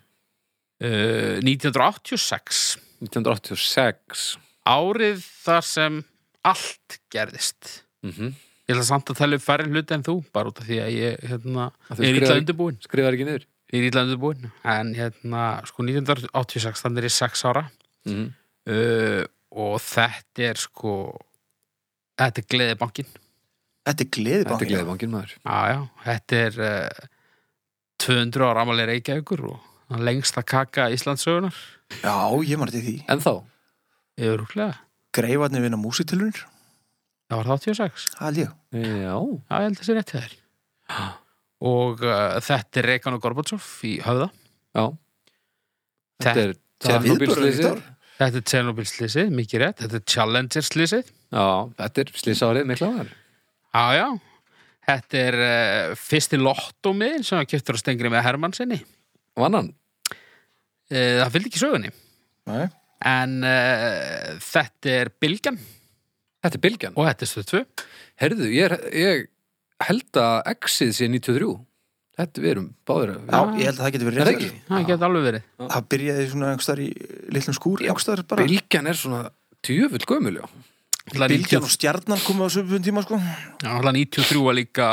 Uh, 1986,
1986
árið þar sem allt gerðist.
mm
Ég ætla samt að tala upp færri hluti en þú, bara út af því að ég, hérna,
Að þú
er illa
skrifaðir-
undirbúin.
Skrifaði ekki niður
Ég er illa undirbúin. En hérna, sko, 1986, þannig er ég sex ára.
mm.
uh, og þetta er sko þetta er gleðibankin
Þetta
Þetta er
er
gleðibankin
gleðibangin maður
já, já, þetta er uh, 200 ára amalegi reykjaukur og lengsta kaka Íslandsögunar
Já, ég mani þetta því
En þá,
yfirrúklega
Greifarnir vinna músitilunir
það var það 86
Það er ég.
Já,
Já, ég held þessi rétt hjá þér Og uh, þetta er Rekan og Gorbatsov í höfða
já Þetta er Tjernobyl-slysið.
Viðburður í dag.
Þetta er Tjernobyl slysið, mikið rétt Þetta er Challenger slysið
Já, þetta er slysárið mikla var
Já, já Þetta er uh, fyrsti lottómiðin sem hann kjöptur á stengri með Hermannsinni
Vannan,
uh, Það fylgdi ekki sögunni
Nei.
En uh, þetta er Bilgjan
þetta er bylgjan
og þetta er Stöð 2
Herðu, ég, er- ég held að Exið sé 93 Þetta við erum báður að
Já, ég held að það getur verið
Er það
rétt hjá
ekki?
þér.
Það geti alveg verið
Það byrjaði svona einhverstaðar í litlum skúr, einhverstaðar bara.
Bylgjan er svona tjöfull gömul, já
Bylgjan og stjarnan komið á söpum tíma, sko.
Já, hann 93 var líka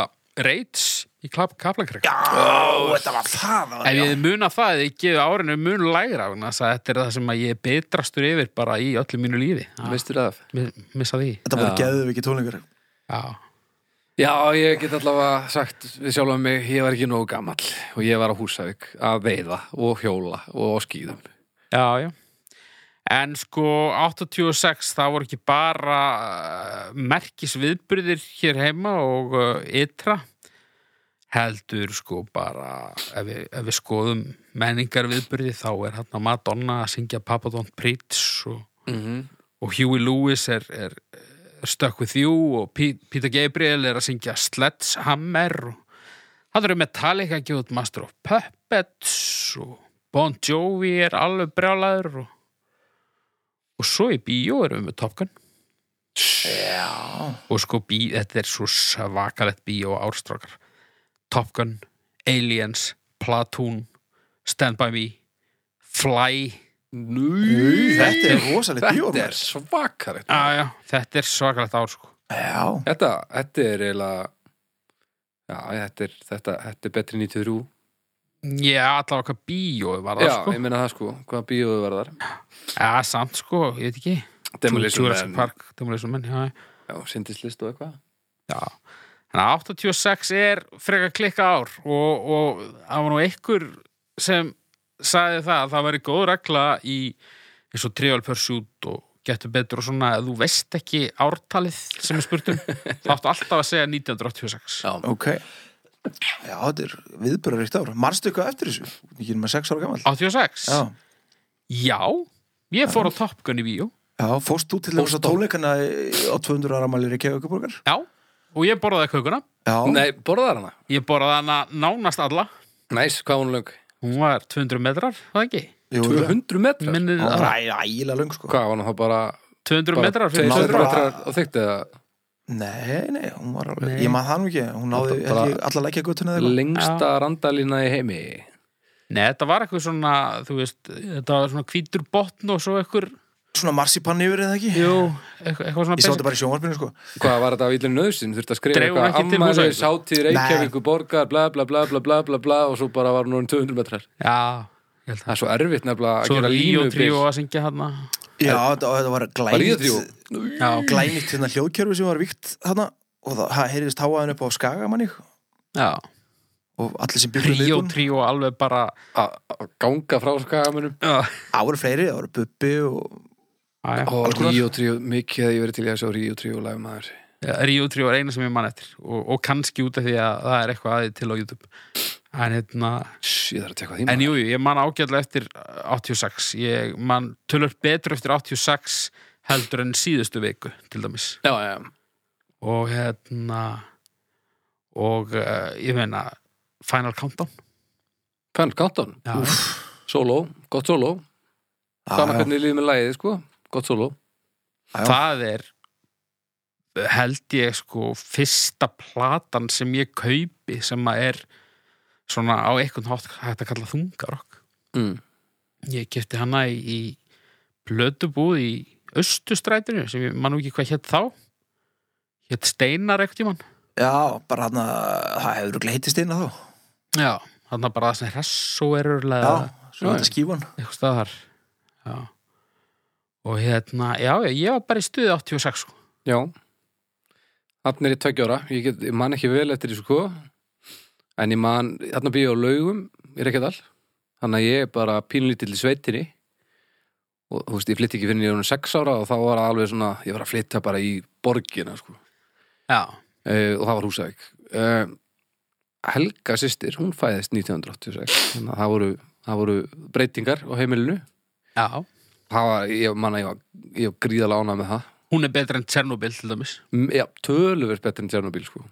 Reits í Kaplakrek
Ó, þetta var það. það var-
Ef ég muna það, eða ég gefi árinu mun lægra vegna þess að þetta er það sem að ég er betrastur yfir bara í öllu mínu lífi Já,
Veistur það?
mi- Missa því
Þetta voru
Já.
geðviki tónleikar.
Já,
Já, ég get allavega sagt við sjálfum mig, ég var ekki nógu gamall og ég var á Húsavík að veiða og hjóla og á skýðum
já, já En sko, 86 það voru ekki bara uh, merkisviðburðir hér heima og uh, ytra heldur sko bara ef við, ef við skoðum menningarviðburði þá er hann Madonna að syngja Papa Don't Preach og
mm -hmm.
og Huey Lewis er, er er Stuck With You og P Peter Gabriel er að syngja Sledgehammer og það eru Metallica að gefa út Master of Puppets og Bon Jovi er alveg brjálæður og, og svo í bíó erum við með Top Gun
Já.
og sko bí, þetta er svo svakalett bíó árstrákar Top Gun, Aliens Platoon, Stand By Me Fly
Nú,
Þetta er rosalega
Þetta er
bíómar.
svakarett
ah, já, þetta er svakalett ár sko
Já.
Þetta, þetta er eiginlega Já, þetta er, þetta, þetta er betri 93
Já, allavega hvað bíóið var það
Já,
sko
ég meina það sko, hvað bíóðu var þar
Já, samt sko, ég veit ekki
Demolition
Jurassic
Man,
Park, Demolition Man, já
já, syndislist og eitthvað
Já, þannig að 86 er frekar klikka ár og, og það var nú einhver sem sagði það að það væri góð regla í eins og Trial Pursuit og getur betur og svona að þú veist ekki ártalið sem er spurtum þá áttu alltaf að segja 1986
Já,
Ok. Já, þetta er viðbörður eitt ár. Marstu eitthvað eftir þessu? Ég er með sex ára gammal.
86?
Já.
Já, ég fór á Top Gun í víu
Já, fórst þú til þess að tónleikana í- á 200 ára mælir í Kefaukaborgar?
Já, og ég borðaði kökuna
Já.
nei, borðar hana
Ég borðaði hana nánast alla
Næs, hvað hún lög?
Hún var 200 metrar, það ekki?
Jú,
200 metrar?
Minnið
Það
að
var ægilega löng, sko.
Hvað var hann þá bara,
200
bara
metrar
200
Náði bara-
metrar og þykkt eða
Nei, nei, hún var alveg,
Nei.
ég maður það nú ekki, hún náði
Þetta bara-
held ég, alla lækja göttuna eða eitthvað.
lengsta randalína í heimi
Nei, þetta var eitthvað svona, þú veist, þetta var svona hvítur botn og svo eitthvað,
Svona marsipann yfir eða ekki?
jú, eitthvað, eitthvað svona
Ég sá
basic.
þetta bara í sjónvarpinu, sko.
Hvað var þetta á ílun nöðsinn? Þurfti að skrifa
Dregur
eitthvað
ekki til
ammæli,
Húsavíkur?
sátíð, reykjavíku, borgar, bla bla bla bla bla bla bla og svo bara var hún orðin 200 metrar
Já, ég held
Það
það.
er svo erfitt nefnilega að
Svo
gera
er Líó
línubil
Tríó að syngja hana.
Já, þetta, þetta var
Var í það
glænýtt,
tríó?
Já,
glænýtt hérna hljóðkerfi sem var víkt þarna og það- það heyrðist háaðin upp á skagamanni
já.
og allir sem byggur
Líó Tríó alveg bara,
Að- að ganga frá skagamunum
já,
Það voru fleiri, það voru Bubbi og
já.
Ó,
konar.
Ríó 3, mikið að ég verið til í að sjá Ríó 3 og lagum aður
Ríó Tríó er eina sem ég mann eftir og, og kannski út af því að það er eitthvað aðið til á YouTube. En hérna,
Ég þarf að tekka því
En
maður.
jú, jú, ég man ágætlega eftir 86 Ég man tölur betur eftir 86 heldur en síðustu viku til dæmis
Já, já,
og hérna og uh, ég meina Final Countdown
Fenn, Countdown,
Já,
solo, gott solo Sama
Já, já.
hvernig líður með lagið, sko, gott solo
það er held ég sko fyrsta platan sem ég kaupi sem að er svona á einhvern hátt hægt að kalla þungarokk
mm.
ég kefti hana í, í blödubúð í Östustrætinu sem ég mann ekki hvað hétt þá hétt Steinar ekkert í mann
Já, bara hann það hefur gleitist inn að þá
já, þannig bara það sem hressó er örlega
Já, svo
Já,
þetta
já.
skífan
eitthvað staðar já. og hérna, já, já, ég var bara í stuði 86 sko.
Já Þannig er ég tveggja ára, ég, get, ég man ekki vel eftir þessu sko En ég man, þarna býja á laugum í Reykjadal Þannig að ég er bara pínlítill í sveitinni Og þú veist, ég flytti ekki fyrir en ég var orðinn sex ára og þá var það alveg svona, ég var að flytta bara í borgina sko
já,
uh, og það var Húsavík uh, Helga systir, hún fæðist 1986 þannig að það voru, það voru breytingar á heimilinu
já.
það var, ég manna, ég var, ég var gríðalega ánað með það
Hún er betra enn Tjernobyl til dæmis.
M- já, töluvert betri en Tjernobyl sko.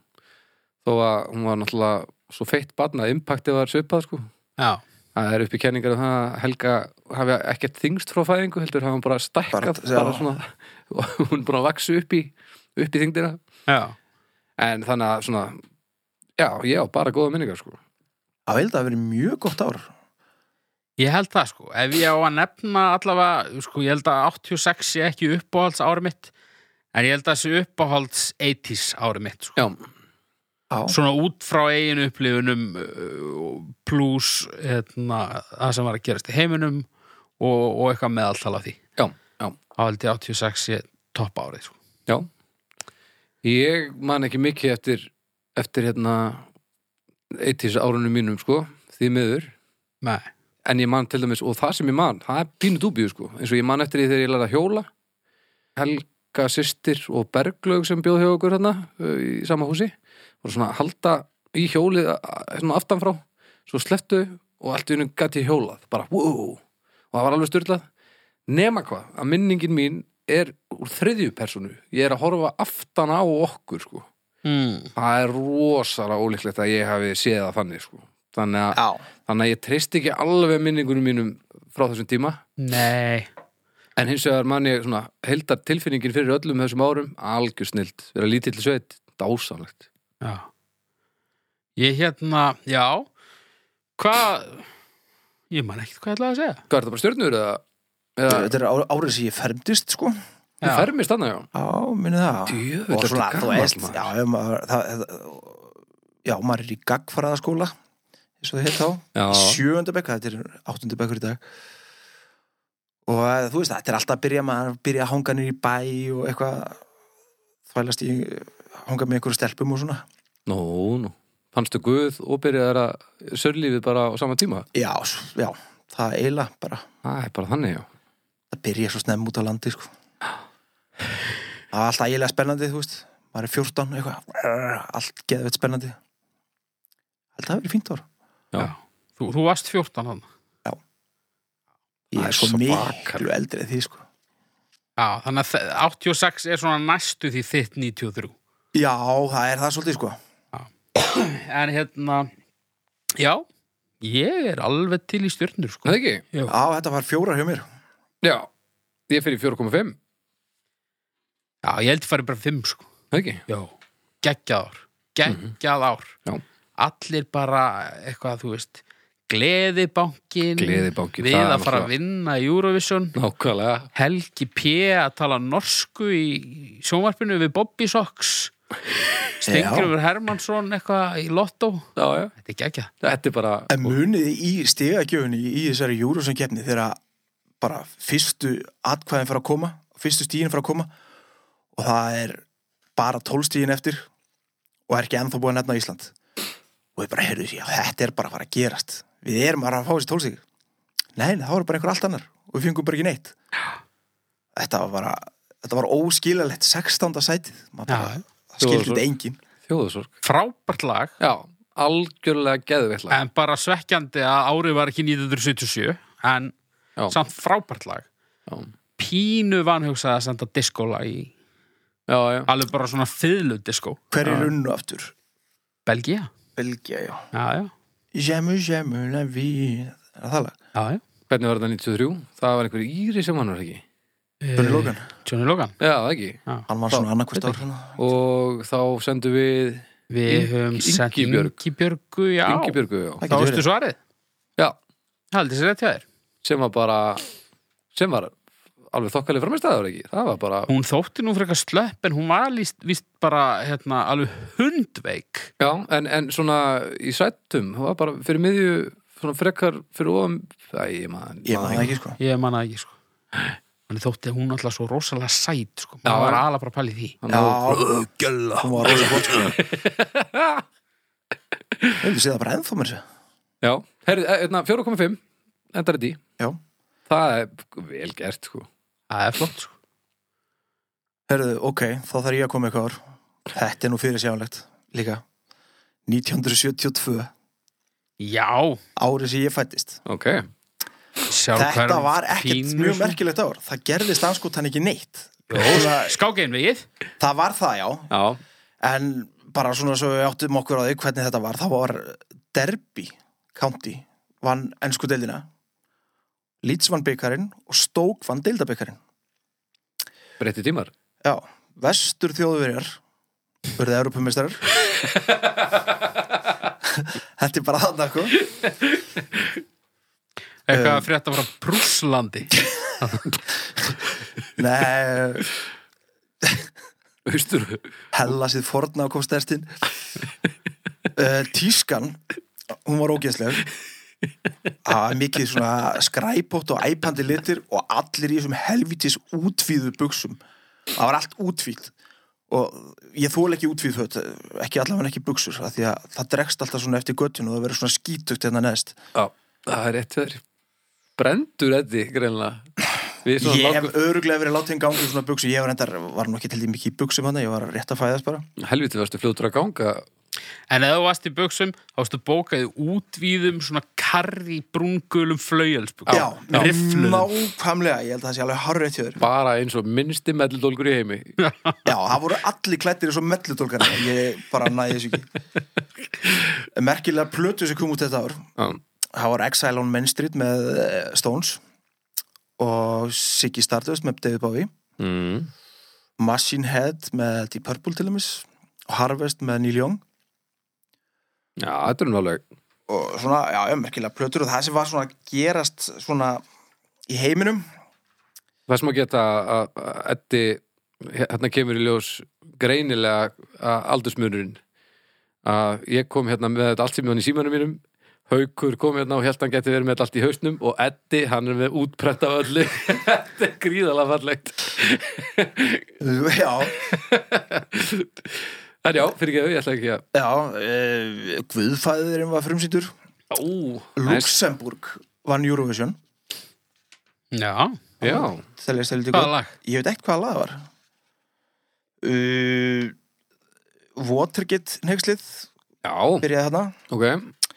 þó að hún var náttúrulega svo feitt barn að impactið var svipað sko.
Já,
það er uppi kenningar um það að Helga hafi ekkert þingst frá fæðingu heldur hafa hún bara stækkað
Bara-
bara,
já.
svona, og hún er búin að vaksu upp í, upp í þingdina
já.
en þannig að svona já, já, bara góða minningar sko
Að velda að verið mjög gott ár
Ég held það sko, ef ég á að nefna allavega, sko, ég held að 86 sé ekki uppáhalds ári mitt en ég held að sé uppáhalds 80s ári mitt sko.
já,
Já,
Svona út frá eiginu upplifunum uh, plus hérna, það sem var að gerast í heiminum og, og eitthvað meðaltal af því
já, já,
Það held ég 86 sé topp árið sko.
já ég man ekki mikið eftir eftir hérna 80s árunum mínum sko því miður,
Nei,
en ég man til dæmis og það sem ég man, það er pínu dúbíu sko eins og ég man eftir því þegar ég lærði að hjóla Helga systir og Berglaug sem bjóð hjá okkur hérna uh, í sama húsi, voru svona að halda í hjólið uh, svona aftanfrá svo slettu og allt í unum gæti ég hjólað bara wow, og það var alveg styrlað nema hvað, að minningin mín er úr þriðju personu ég er að horfa aftan á okkur sko.
mm.
það er rosalega ólíklegt að ég hafi séð það þannig sko. þannig, að,
já.
þannig að ég treyst ekki alveg minningunum mínum frá þessum tíma
Nei.
en hins vegar man ég svona heldar tilfinningin fyrir öllum þessum árum algjör snilt, vera lítill sveit dásanlegt
Já. Ég hérna, já Hvað Ég man ekkert hvað ég ætlaði að segja
hvað er það bara stjörnur eða, eða
Þetta er á- árið sem ég fermdist sko
þú fermist þannig já
Já, minni það
Djöfull,
Og svona,
ertu
þú
gamall,
veist
maður.
Já, ef maður- það- það- já, maður er í gagfaraðaskóla eins og þið heit þá
Já.
Í sjöunda bekk, þetta er áttunda bekkur í dag og eh, þú veist, þetta er alltaf að byrja maður byrja að hanga niður í bæ og eitthvað þvælast í hanga með einhverju stelpum og svona
Nú, nú. Fannstu Guð og byrjaðar að sörlífið bara á sama tíma?
Já, s- já, það er eiginlega bara
Það er bara þannig, já.
það byrja svo snemm út á landi sko. það var alltaf ægilega spennandi þú veist, maður er 14 eitthvað, allt geðveitt spennandi held að það verið fínt ára
Já.
Já. Þú, þú varst 14 hann.
ég
Það er
er svo
svakalega.
miklu eldri en því sko.
Já, þannig að þe- 86 er svona næstu því þitt 93.
já, það er það svolítið sko.
En hérna, já, ég er alveg til í stjörnur,
Er Það
sko.
ekki?
já, þetta var fjóra hjá mér
Já. Ég fyrir 4,5.
Já, ég held ég fari bara 5, sko.
Það ekki?
Já. Geggjað ár. Geggjað ár.
Mhm. Já.
Allir bara eitthvað, þú veist, gleðibankin.
Gleðibankinn,
Við
það er
að fara
náttúrulega-
að vinna í Eurovision.
Nákvæmlega.
Helgi P. að tala norsku í í sjónvarpinu við Bobby Socks. Stengröfur Hermansson eitthvað í Lotto.
Já, já.
Þetta er geggjað.
Þetta er bara...
en muniði í stigagjöfunni í þessari júrusson keppni þegar bara fyrstu atkvæðin fara að koma fyrstu stíðin fara að koma og það er bara tólstíðin eftir og er ekki ennþá búið að nefna Ísland og við bara heyrðu því að þetta er bara að fara að gerast við erum bara að fá þessi tólstíð nei, nei, það voru bara einhver allt annar og við fengum bara ekki neitt þetta var bara þetta var óskilalegt 16. sætið maður bara,
Já.
það skildi
Þú-
þetta engin
Þjóðusorg.
Frábært lag.
Já. Algjörlega geðveitla.
En bara svekkjandi að árið var ekki 1977 En
Já.
samt frábært lag
Já.
Pínu vanhugsaði að senda diskólag í
Já, já.
Alveg bara svona fiðlu diskó
hver er unnu aftur?
Belgia
Belgia, já
Já, já,
J'aime, j'aime la vie Er Það lag
já, já.
Hvernig var þetta 93? Það var einhver íri sem hann var ekki.
Eh, Johnny Logan
Johnny Logan
Já, það ekki.
Hann var svona annarkvist ár
Og þá sendum við
Við höfum sett
Ingibjörg.
Ingibjörgu, já
Ingibjörgu, já.
Þá veistu svarið
Já.
Haldið sér rétt hjá þér
Sem var bara... Sem var alveg þokkalið framistæður ekki. Það var bara...
Hún þótti nú frekar slöpp En hún var líst, víst bara hérna, alveg hundveik
Já, en, en svona í sættum, það var bara fyrir miðju svona frekar fyrir ofan Æ, ég maður
Ég maður það ekki sko
Ég manna ekki, sko Hann þótti hún alltaf svo rosalega sæt, sko
Já,
Hún var
já.
alveg bara að pæli því
Já Gjölla Hún var rosa gott sko Hefðu séð það bara ennþá mér sér
Já, herri, hérna, 4,5 endar þetta í,
Já
það er vel gert sko
Það er flott, sko
Herðu, ok, þá þarf ég að koma með eitthvað ár Þetta er nú fyrir sjálegt líka 1972
Já,
árið sem ég fættist
ok,
sjálf
Þetta var ekkert mjög
sko.
merkilegt ár Það gerðist anskotan ekki neitt Svona-
Skágein við
Það var það já
já,
En bara svona svo við áttum okkur á því hvernig þetta var Það var Derby County vann ennsku deildina Leeds vann byggarinn og Stoke vann deildabyggarinn
breytti tímar
Já, vestur þjóðverjar Urðið Europameistarar Þetta er bara þarna sko
Eitthvað að frétta var að Brúslandi
Nei,
austur,
hella sér forna á kostestinn uh, Tískan Hún var ógeðsleg Það var mikið svona skræpótt og æpandi litir og allir í þessum helvitis útvíðu buksum Það var allt útvíð og ég þól ekki útvíð föt ekki allavega ekki buksur af því að það dregst alltaf svona eftir göttinu og það verður svona skítugt hérna neðst
já, það er rétt þér brendur eddi, greinlega við svona
Ég hef
lágum,
öruglega verið látið en gangi í svona buksu Ég var endar, var nú ekki til því mikið í buksum hann Ég var rétt að fæðast bara
helviti varstu fljótur að ganga
En ef þú varst í buksum, þá varstu bókaði útvíðum svona karri brúngulum flauelsbuksum.
Já,
Riffluðum.
nákvæmlega, ég held að það sé alveg harrið til þér
bara eins og minnsti melludólgur í heimi
Já, það voru allir klættir eins og mellutólkar Ég bara næði þessu ekki Merkilega plötu sem kom út þetta ár
já,
Það var Exile on Main Street með eh, Stones og Siggy Stardust með David Bowie
mm.
Machine Head með Deep Purple til dæmis og Harvest með Neil Young
já þetta er nú alveg
og svona, já, já, merkilega plötur og það sem var svona að gerast svona í heiminum
það sem að geta að að Eddi, hérna kemur í ljós greinilega að aldursmunurinn að ég kom hérna með þetta allt sem hann í símanum mínum Haukur kom hérna og held hann geti verið með þetta allt í hausnum og Eddi, hann er með útprent af öllu þetta er gríðalega fallegt
já,
en já, fyrir ekki, ég ætla ekki að
já e, Guðfæðurinn var frumsýndur
Ú, næs.
Luxemburg vann Eurovision
Já.
já,
Þegar ég stæði
Hvaða lag?
Ég veit ekkert hvaða lag það var uh, Watergate neykslið
já,
byrjaði þarna
ok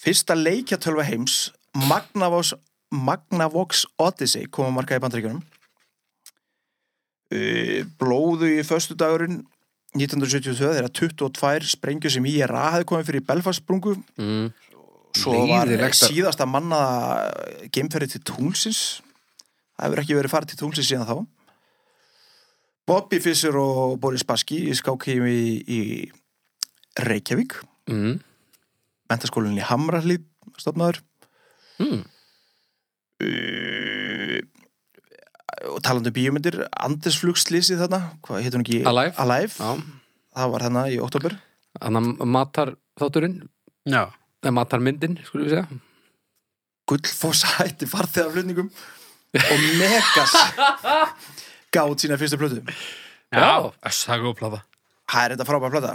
Fyrsta leikjatölva heims Magnavox, Magnavox Odyssey koma markað í bandaríkjunum Uh, Blóðu í föstudagurinn 1972 þegar 22 sprengju sem ég hafði komið fyrir í Belfast sprungu
mm.
svo var
Leiðilegt að-
síðasta mannaða geimferði til tunglisins það hefur ekki verið farið til tunglisins síðan þá Bobby Fischer og Boris Baski í skákheimi í í Reykjavík
Mm.
mentaskólinni Hamralíð stofnaður
Mm.
uh, og talandi um bíómyndir Andesflugslysi þarna hvað heitum ekki?
Alive.
Alive.
já,
það var þarna í oktober
þannig að matar þátturinn
Já.
eða matar myndin, skulum við segja
Gullfoss hætti farþegarflutningum og Megas gáð sína fyrstu plötu
Já.
Öss, það er góð plata.
það er þetta frábæð plata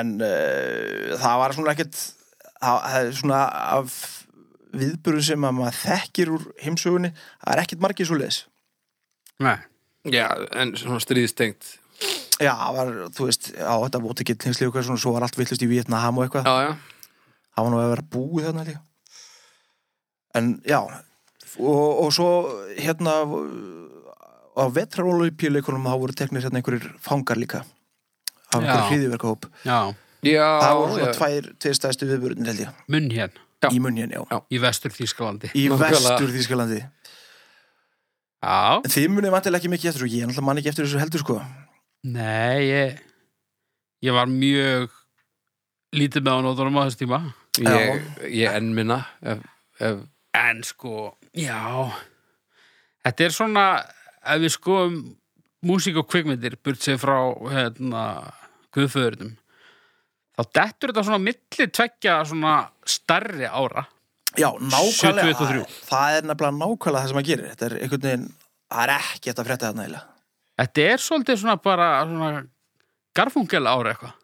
en uh, það var svona ekkert það það er svona af viðburðum sem að maður þekkir úr heimsögunni, það er ekkert margir svo leis
Nei.
Já, en svona stríðstengt
já, það var, þú veist, á þetta vóti ekki tingsli og eitthvað svona, svo var allt villust í Vietnam og eitthvað,
Já, já,
það var nú að vera búið þarna líka en já og, og svo hérna á vetraróluipjuleikunum þá voru teknir hérna einhverjir fangar líka af einhverjum
Já.
hriðiverkahóp
Já.
já
það voru
já.
svona tvær, tveir stæðstu viðburðin held ég,
Munn hér.
Já.
í munnin, já
Í vestur Þýskalandi.
í
Nákvæmlega.
vestur Þýskalandi
Já.
En Þið munið vantilega ekki mikið eftir og ég náttúrulega man ekki eftir þessu heldur sko
Nei, ég, ég var mjög lítið með á nótunum á þessu tíma.
ég, ég enn minna ef, ef,
En sko, já. Þetta er svona, ef við skoðum músík og kvikmyndir, burt sér frá hérna, guðföðurnum, þá dettur þetta svona milli tvekja svona starri ára.
Já, nákvæmlega
73.
það, það er nefnilega nákvæmlega það sem að gerir Þetta er einhvern veginn, það er ekki þetta að frétta þarna eiginlega
Þetta er svolítið svona bara svona garfungel ára eitthvað.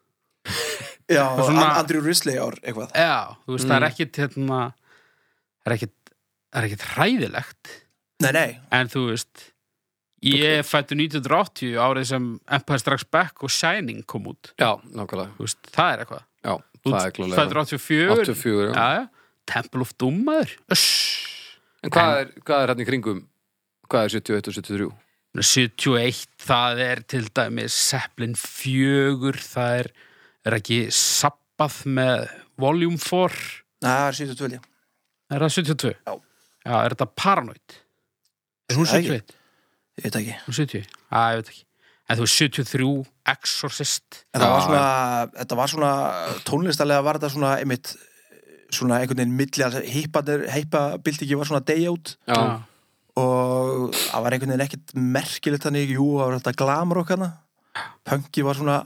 Já,
Og svona-
svona... Andrew Risley ár eitthvað
Já, þú veist, það er ekkit hérna, það er ekkit, það er ekkit hræðilegt,
Nei, nei,
en þú veist, Ég fættu 1980 árið sem Empire Strikes Back og Shining kom út.
Já, nákvæmlega
Þú Veist, það er eitthvað.
Já,
Þú
það er
fættur
klálega
84.
84, já.
já. Temple of Doom, maður. Öss.
En hvað er, hvað er hann í kringum? Hvað er 71 og 73?
71, það er til dæmis Zeppelin 4, það er, er ekki Sabbath með Volume 4,
það er 72 já.
er það 72?
Já.
Já, er þetta Paranoid? Er hún
Það ekki.
71?
ég veit ekki,
Hún 70? Já, ég veit ekki. En þú er 73, Exorcist.
þetta var
Já.
svona, þetta var svona tónlistalega var þetta svona einmitt svona einhvern veginn milli heipabildi ekki var svona day out
Já,
og það var einhvern veginn ekkert merkilegt þannig, jú, það var þetta glamrock hana punki var svona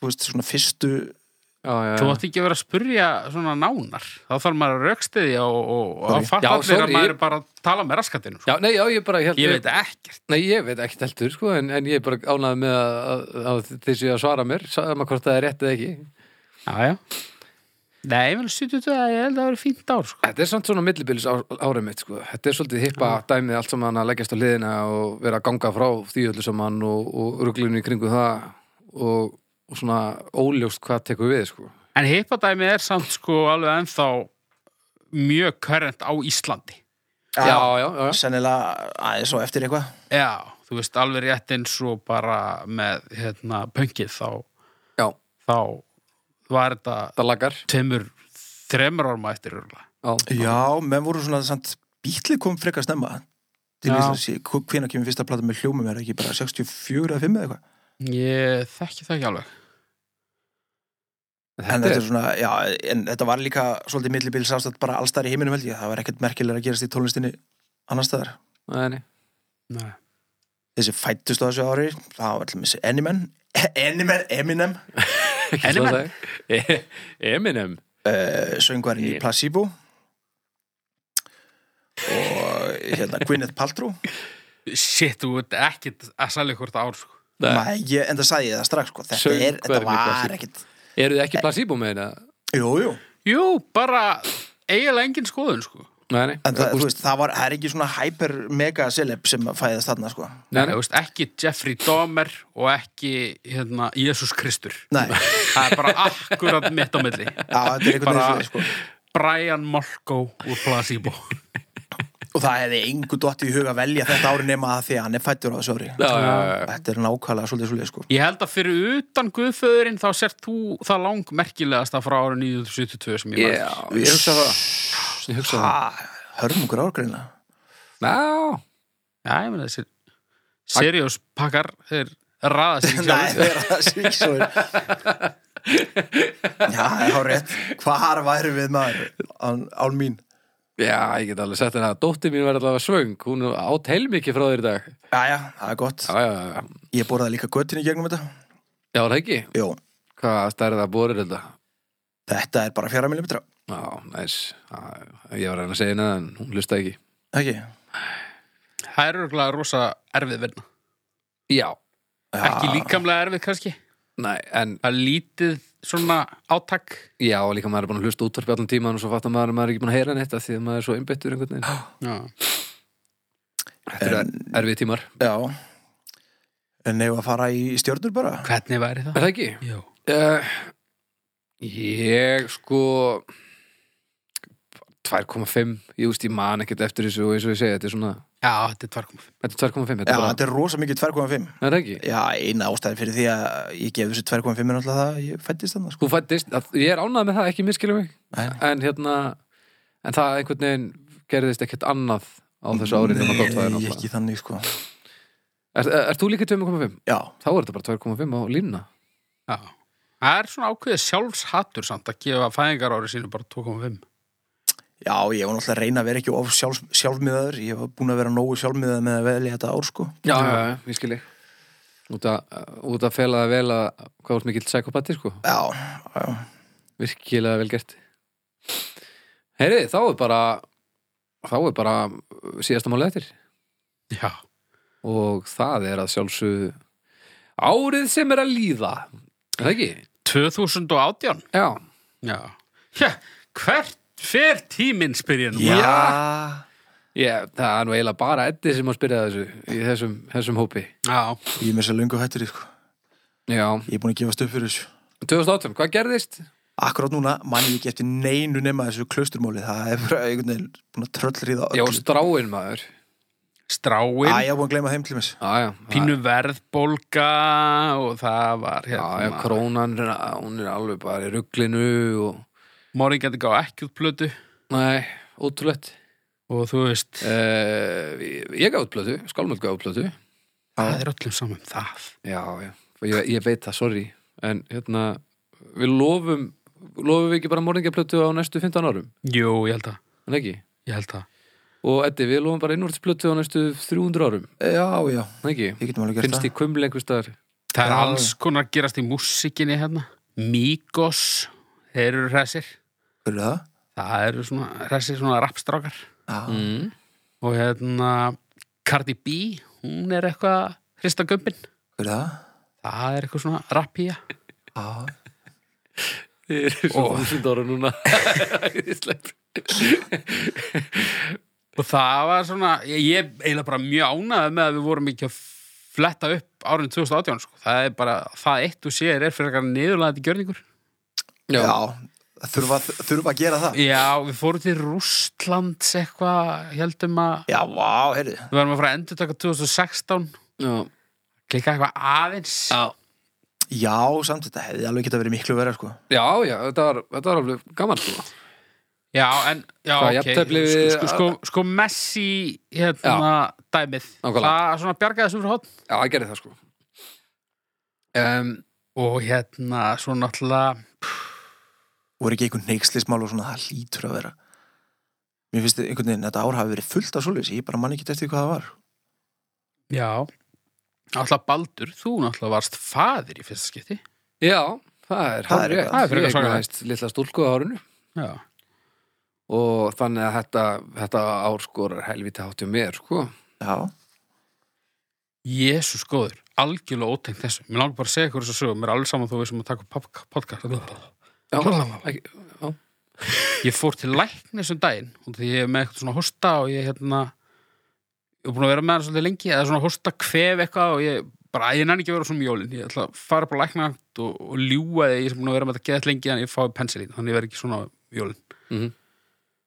þú veist, svona fyrstu
já, já,
Þú
já.
átt ekki að vera að spurja svona nánar. Þá þarf maður að raukstiðja og, og, og að
Sorry.
Já,
fatta allir
sorry.
að maður er bara að tala með raskatinu.
Já, nei, já, ég bara held
Ég veit ekkert.
Nei, ég veit ekki heldur, sko, en, en ég er bara ánaði með að, að, að þeir séu að svara mér sama hvort það er rétt eða ekki
Já, já. Nei, vel 72, ég held að það verið fínt ár, sko.
Þetta er samt svona millibils árið mitt, sko Þetta er svolítið hippa dæmið allt saman að leggjast á liðina og vera að ganga frá því öllu saman og, og ruglunni í kringu það og, og svona óljóst hvað tekur við, sko
En hippadæmi er samt sko alveg ennþá mjög körrent á Íslandi.
Já, já, já, já.
sennilega aðeins og eftir eitthvað
Já, þú veist alveg rétt eins og bara með hérna pöngið þá,
já
þá var þetta
það lagar
tveimur, þremur orma eftir örgulega.
Já,
já, menn voru svona samt bítlið kom frekar snemma til
Já.
Íslands, Ég- hv- hvenær kemur fyrsta plata með hljómum er það ekki bara 64 eða 5 eða eitthvað
Ég þekki það ekki alveg.
en
þetta
þetta
er
er svona, já, en þetta var líka svolítið millibils ástætt bara allstar í heiminum held ég, það var ekkert merkilega að gerast í tónlistinni annar staðar,
Nei, nei.
Nei.
þessi fættust á þessu ári það var allir með þessi Enimen Enimen, Eminem
Ekki
Eminem.
svo að segja. Eminem
uh, söngvarinn í
Ég-
Placebo og hérna Gwyneth Paltrow
Shit, þú veit ekki að salja hvort ár sko.
Nei.
Mæ, ég, en það sagði ég það strax sko. þetta, er, þetta
Söngvarinn í
var
Placebo.
ekkit
Eru þið ekki placebo með þetta?
jú, jú.
Jú, bara eiginlega engin skoðun sko.
Nei, nei,
en það, þú veist, það, var, það er ekki svona hyper mega celeb sem að fæðast þarna sko.
Nei,
Þú
nei.
veist, ekki Jeffrey Dahmer og ekki hérna, Jésús Kristur.
nei, já,
Það er bara akkurat mitt á milli.
þetta er einhvern
Bara-
veginn sko.
Brian Molko úr Placebo
og það hefði engu dotti í huga að velja þetta ári nema að því að hann er fættur á þessu ári
Já, já, já, já.
þetta er nákvæmlega svolítið svolítið sko.
Ég held að fyrir utan Guðföðurinn þá sért þú það langmerkilegasta frá ára 1972 sem ég
Já, ég hugsa það Ég hugsa það
ha, hörmungur árgreina
Já,
Já, ég meina þessi Seriós pakkar þeir raða sér í
Nei,
sjálfum.
það er að sé ekki svo Já, það er rétt Hvar væri við maður án, án mín?
Já, ég get alveg sett henni að dóttir mín var allavega svöng, hún átt heilmikið frá þér í dag.
Jæja, það er gott
Já, já, já, já,
Ég borðaði líka göttin í gegnum þetta
já, var það ekki?
Jó,
Hvað stærða borir þetta?
þetta er bara fjara millimetra
Já, næs, Já, ég var að reyna að segja henni það en hún lusta ekki.
Ekki?
Það er örgulega rosa erfið verna
Já,
Ekki líkamlega erfið kannski
nei, en
Það er lítið svona átak
já, líka maður er búin að hlusta útvarpi allan tíman og svo fattar maður að maður er ekki búin að heyra neitt af því að maður er svo einbyttur einhvern veginn.
Já,
Þetta eru erfið tímar.
Já En eigum við að fara í stjörnur bara?
Hvernig væri
Er
það?
það ekki?
Jó.
Uh, ég sko 2,5 ég veist, ég man ekkert eftir þessu og eins og ég segi, þetta er svona
Já, þetta er tvarkum
þetta er 2,5, þetta
Já,
er bara,
þetta er rosa mikið 2,5
er það ekki?
Já, eina ástæði fyrir því að ég gef þessu 2,5 er náttúrulega það að ég fættist þannig sko.
Þú fættist, að, ég er ánægð með það, ekki miskilum mig
Nei, nei.
en hérna, en það einhvern veginn gerðist ekkert annað á þessu ári nema gott það er
Nei,
náttúrulega
ekki þannig sko
Er, er, er þú líka 2,5?
Já,
Þá er þetta bara 2,5 á línuna
Já Það er svona ákveðið sjálfshattur samt að gefa fæðingar árið sínu bara 2,5
Já, ég var náttúrulega að reyna að vera ekki of sjálf, sjálfmiðaður, ég var búin að vera nógu sjálfmiðaður með að velja þetta ár sko
Já, já, já, ég skil ég Út að, út að fela það vel að hvað er mikill psykopati, sko
Já, já,
virkilega vel gert Heyri, þá er bara þá er bara síðasta máli eftir
Já
og það er að sjálfsögðu árið sem er að líða er það ekki?
2018
Já,
Já. Hvert fer tíminn spyr ég nú?
já.
Ég, það er nú eiginlega bara Eddi sem að spyrja þessu í þessum, þessum hópi.
Já,
Ég er með þess að löngu hættur, sko.
Já.
Ég er búin að gefast upp fyrir þessu.
2018, hvað gerðist?
Akkurát núna mann ég ekki eftir neinu nema þessu klausturmáli. Það er bara einhvern veginn búin að tröllriða
Já,
öllu.
stráin maður.
stráin,
Æ, ég er búin að gleyma þeim til mér.
Já, já.
pínu verðbólga og það var
Já, já,
hérna,
krónan, hún er alveg bara í rugglinu og...
morðingjandi gá ekki út plötu
Nei, ótrúlegt.
og þú veist,
Uh, ég gaf útblötu, skálmöld gaf útblötu.
það er öllum saman um það.
Já, já. Ég, ég veit það, sorry. En hérna, við lofum, lofum við ekki bara morðingjablötu á næstu 15 árum?
Jú, ég held að,
En ekki?
ég held að.
Og Eddi, við lofum bara innvortisblötu á næstu 300 árum?
Já, já.
En ekki?
Ég getum alveg gert
Finnst
það.
í kumli einhvers staðar?
Það er
Já.
alls konar að gerast í músikinni hérna. Migos, þeir eru hressir.
Hver er það?
Það eru svona, hressir svona rapstrákar.
Já.
Mm.
Og hérna, Cardi B, hún er eitthvað að hrista gömbin.
Hver er það?
Það er eitthvað svona rapíja.
Já.
Þið eru svo þúsund ára núna Æðislegt
Og það var svona, ég, ég er eiginlega bara mjög ánægð með að við vorum ekki að fletta upp árið 2018, sko. Það er bara, það eitt og sér er fyrir eitthvað niðurlæðandi gjörningur.
Já.
Já. Þurfa, þurfa að gera það.
Já, við fórum til Rústlands eitthvað, heldum að
Já, vá, heyrðu.
við varum að fara að endur taka 2016
Já,
klikka eitthvað aðeins
já,
Já, samt þetta hefði alveg geta verið miklu verið, sko.
já, já þetta, var, þetta var alveg gaman sko.
Já, en, já,
Hvað,
ok
jafntefli
sko,
við-
sko, sko, sko Messi hérna, dæmið
Nákvæmlega.
það svona bjargaði þessu frá hotn
Já, það gerði það sko um,
og hérna, svo náttúrulega
Voru ekki einhvern neykslismál og svona, það hlýtur að vera. Mér finnst einhvern veginn, þetta ár hafi verið fullt af svoleiðis. Ég bara mann ekki eftir hvað það var.
já, náttúrulega Baldur þú náttúrulega varst faðir í fyrsta skipti
Já, það er
Það er
hárið
eitthvað. Það
er frekar svakalegt.
Lilla stúlku á árinu
já,
og þannig að þetta, þetta ár sko, skorar helviti hátti mér sko.
Já.
jésus góður algjörlega ótengt þessu, mér langar bara að segja ykkur þessu sögum, mér er alveg saman þó við sem að taka upp podcast
Já,
Blablabla.
ekki, já,
Ég fór til læknis um daginn og því ég er með eitthvað svona hosta og ég hérna ég er búin að vera með hann svolítið lengi eða svona hosta kvef eitthvað og ég bara, ég nenni ekki að vera svona um jólin ég ætla að fara bara læknagt og, og ljúga því að ég er búin að vera með þetta geðt lengi en ég fái pensilín þannig ég verð ekki svona um jólin
Mhm.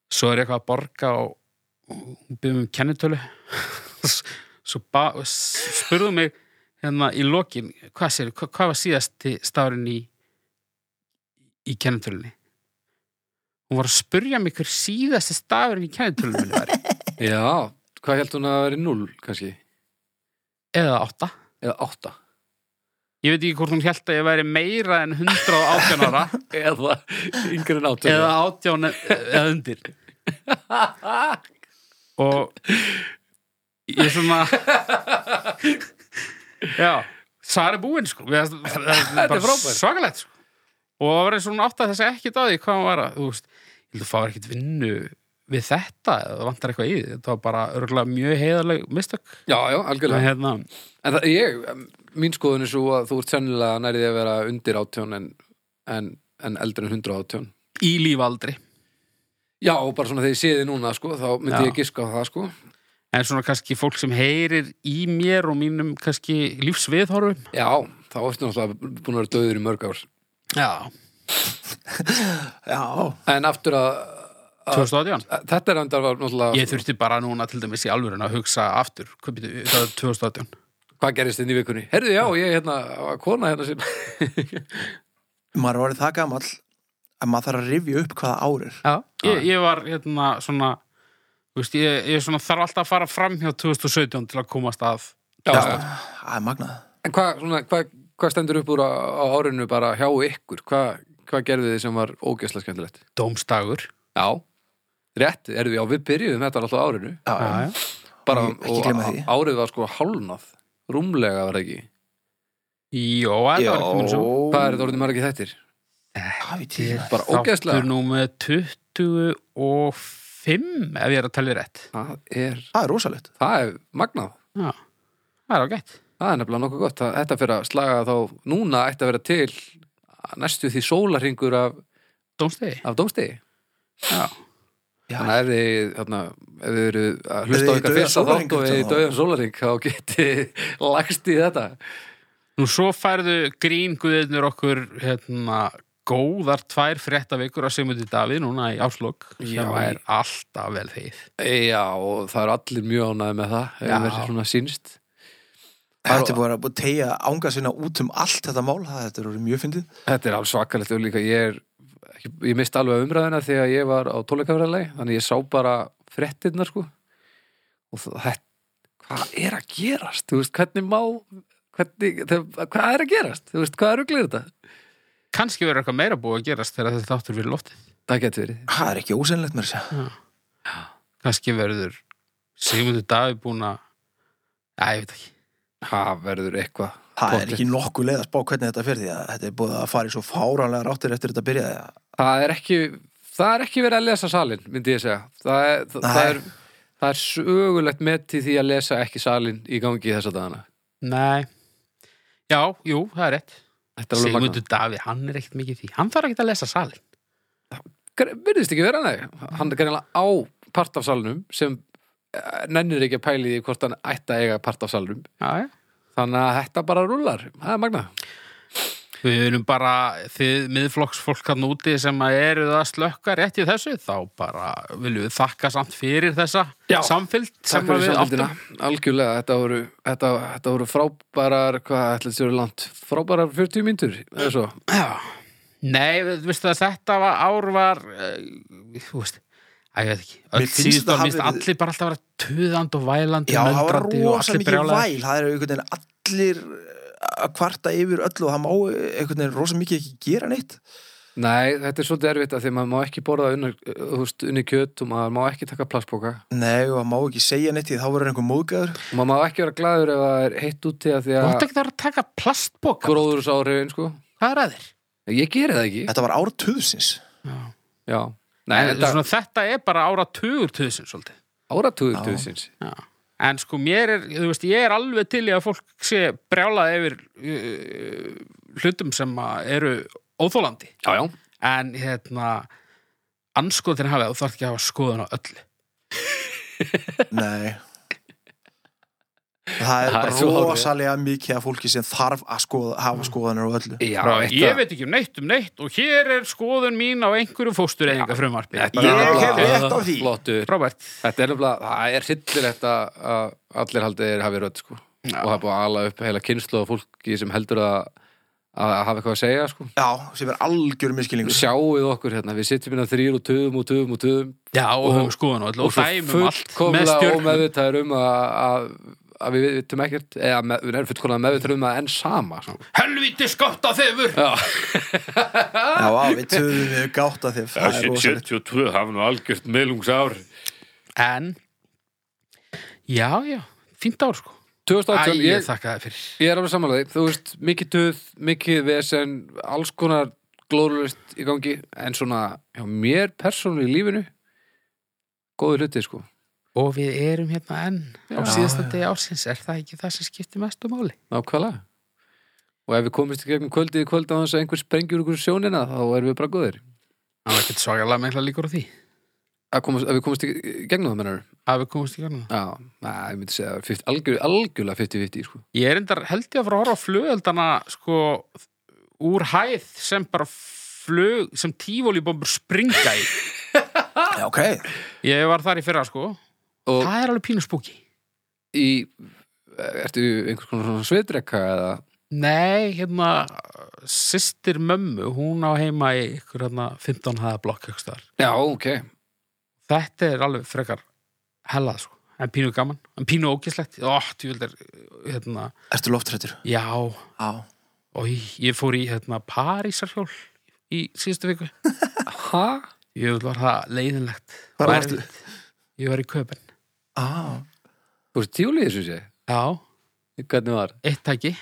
Svo er ég eitthvað að borga og, og hún byrðum um kennitölu svo ba, spurðu mig hérna í lokin hvað, sér, hvað, hvað var síðasti stafurinn í í kennitölunni hún var að spurja mig hver síðasti stafurinn í kennitölunni var
já, hvað held hún að vera 0 kannski,
eða átta
eða 8
ég veit ekki hvort hún held að ég væri meira en 118 ára
eða yngri en 8
eða 18 eða undir og ég svona já það er búinn sko það, það, það er
er
bara
frábært.
svakalegt sko. og það var eins og hún átt að þessi ekkit á því hvað hann var að, þú veist, ég held að fá ekkit vinnu við þetta, eða það vantar eitthvað í því þetta var bara örgulega mjög heiðarleg mistök
Já, já, algjörlega
hérna,
En það, ég, em, mín skoðun er svo að þú ert sennilega nærið að vera undir átjón en, en, en eldri en hundra átjón.
í lífaldri
Já, og bara svona þegar ég sé þið núna, sko, þá myndi
Já.
ég giska á það, sko.
en svona kannski fólk sem heyrir í mér og mínum kannski lífsviðhorfum
Já, þá ertu náttúrulega búin að vera döður í mörg ár.
já,
Já.
En aftur að,
2018
að þetta er endar var náttúrulega,
Ég þurfti bara núna til dæmis í alvörun að hugsa aftur, hvað byrju, það er 2018
hvað gerist þinn í vikunni? Herðu, já, ég hérna, var kona hérna sem...
maður er orðið það gamall að maður þarf að rifja upp hvaða ár er
Já Ég, ég var hérna svona, þú veist, ég, ég svona þarf alltaf að fara fram hjá 2017 til að komast að
Já,
það er magnað
En hvað, svona, hvað, hvað stendur upp úr á, á árinu bara hjá ykkur? Hvað, hvað gerðu þið sem var ógeðslega skemmtilegt?
Dómstagur
Já, rétt, erum við, já, við byrjuðum þetta alltaf á árinu.
já, já.
Já, já.
bara,
Ekki- ekki
og
gleyma því.
á- árið var sko hálnað rúmlega var það ekki
Jó, en það var ekki komin svo
hvað er þetta orðið margir þettir?
það veit ég ekki.
bara ógeðslega.
Þáttur nú með 25 ef ég er að telja rétt
það er,
það er rosalegt
það er magnað
Já, það er ágætt
það er nefnilega nokkuð gott, það, þetta fyrir að slaga þá núna ætti að vera til næstu því sólarhingur af,
Dómstegi
af dómstegi
Já
Já.
Þannig að ef þið, þarna, ef þið eru að
Ef þið
hlusta á
í
eitthvað
dauðan
fyrsta þátt og
sólarhring,
eða í
þá-
döðan sólaring þá getið lagst í þetta.
Nú svo færðu grínguðinir okkur hérna, góðar tvær frétta vikur að semundi Davíð núna í áslokk
Já.
sem er alltaf vel þegið.
Já, og það eru allir mjög ánægði með það, ef
Já.
það er svona sínst.
Þetta er bara að tegja ánga sinna út um allt þetta mál, það- þetta er orðið mjög fyndið.
Þetta er alveg svakalegt og líka ég er, ekki, ég misti alveg umræðina þegar ég var á tóleikafræðilegi, þannig ég sá bara frettirnar sko og það- þetta, hvað er að gerast? Þú veist, hvernig má, hvernig, það, hvað er að gerast? Þú veist, hvað er að glera þetta?
Kanski verður eitthvað meira búið að gerast þegar þetta þáttur fyrir loftið.
Það getur verið.
Það er ekki ósennlegt mér að segja.
Kanski verður Sigmundur Davíð búin að... Æ, ég veit ekki.
Það verður eitthvað.
Það er
Pottþétt.
ekki nokkuð leið að spá hvernig þetta fer því að þetta er búið að fara í svo fáranlega ráttir eftir þetta byrjaði.
Það er ekki, það er ekki verið að lesa salin, myndi ég segja. Það er, það,
Nei.
það er, það er sögulegt met í því að lesa ekki salin í gangi þessa dagana.
Nei. Já, jú, það er rétt.
Þetta er alveg magnað.
Sigmundur Davíð, hann er ekkert mikið í því. Hann þarf ekkert að lesa salin.
verðist ekki vera nei hann er greinlega á part af salnum sem eh, nennir ekki að pæli því hvort hann ætti að eiga part af salnum
Já, já.
þannig að þetta bara rúlar það er magna
Við erum bara, þið miðflokksfólk hann úti sem að eru að slökka rétt í þessu, þá bara viljum við þakka samt fyrir þessa
Já.
samfylg sem að við
samfélgina algjörlega, þetta voru, þetta, þetta voru frábærar hvað ætlaði sér langt frábærar 40 mínútur eða svo
Já. Nei, við- veistu að þetta var ár var, eh, þú veist, að ég veit ekki, öll
Mér finnst
síðust
þetta
og minnst
hafi-
allir bara alltaf að vera tuðand og vælandi,
Já, það var
möldrandi og
rosa
allir
mikið
brjálæðir.
væl, það er einhvern veginn allir eh, að kvarta yfir öllu og það má eh, einhvern veginn rosa mikið ekki gera neitt.
nei, þetta er svolítið erfitt að því að maður má ekki borða unni, húst, unni kjöt og maður má ekki taka plastboka
Nei, og það má ekki segja neitt því þá verður einhver móðgæður.
og maður má ekki vera glaður ef það er heitt úti að því
Þú átt
að
ekki að vera að taka plastbóka,
gróðursáhrifin sko
hvað er að þér?
ég geri það ekki,
Þetta var áratuðsins.
já nei,
En,
þetta,
Eh, svona, þetta er bara ára tugur tuðsinn, svolítið.
áratugur
Já.
tuðsins
Já. En sko mér er, þú veist, ég er alveg til í að fólk sé brjálað yfir uh, hlutum sem að eru óþólandi.
já, já,
En hérna, anskotin hafið, þú þarf ekki að hafa skoðun á öllu.
Nei. Það er
Það er
bara
svo hárrétt.
rosalega mikið af fólki sem þarf að skoða, hafa skoðanir og öllu.
já
Bara,
þetta-
ég veit ekki um neitt um neitt og hér er skoðun mín á einhverju fóstureyðinga frumvarpi.
Þetta
Ég
er
hef
nefnilega-
rétt á því.
Flottur.
Robert,
Þetta er nefnilega, það er hryllilegt að að allir haldið er hafið rödd sko. og það er búið að ala upp heila kynslu og fólki sem heldur að, að hafa eitthvað að segja sko.
Já, sem er algjör miskilningur.
sjáuð okkur hérna, við sitjum hérna þrýr og töðum og töðum og töðum
já, og,
Og-
höfum skoðun á öllu og,
svo
dæmum allt með
fullkomlega
stjórnum.
ómeðvitaður um að, að, að við vitum ekkert eða með, við erum fullkomlega meðvitaður um að enn sama sko.
Helvíti skotta þefur!
Já,
Já, á, við töðum við gátt að þið. Það er rosalegt.
72 hafa nú algjört meðlungsár
En, já, já, fínt ár sko. Æ,
2018,
ég
ég,
þakka það fyrir.
Ég er alveg samanlega, þú veist, mikið töð, mikið vesen, alls konar glóðlust í gangi, en svona, já, mér persónulega í lífinu, góði hluti, sko.
Og við erum hérna enn á
Já.
síðasta degi ársins, er það ekki það sem skiptir mestu máli?
Nákvæmlega. Og ef við komist í gegnum kvöldið í kvöld á þess að einhver sprengjur ykkur sjónina, þá erum við bara góðir.
Það var ekkert svakalega meðla líkur á því.
Að, komast, að við komist í gegnum það, mennar.
Að við komumst í garna.
Já, na, ég myndi segja, 50, algjör, algjörlega 50-50, sko.
Ég er endar held ég að fara að horfa á flugeldana sko úr hæð sem bara flug, sem tífólibombur springa í.
Já, ok.
Ég var þar í fyrra sko.
Og-
það er alveg pínu spúki.
Í, eh, ertu einhvers konar svona svitrekka eða...
Nei, hérna, systir mömmu, hún á heima í ykkur hérna 15 hæða blokk ykkur staðar.
Já, ok.
Þetta er alveg frekar hellað sko. En pínu gaman, en pínu ógislegt. Ó, tjúvildir, hérna,
Ertu loftrættur?
já,
Já.
Og ég fór í hérna Parísarhjól í síðustu viku.
Ha?
Ég vil var það leiðinlegt.
Hvar
Og
varstu?
erfitt. Ég var í köpinn.
Á.
Ah, Þú veist, tíulíðis, þessu sé.
Já,
Hvernig var?
eitt tæki.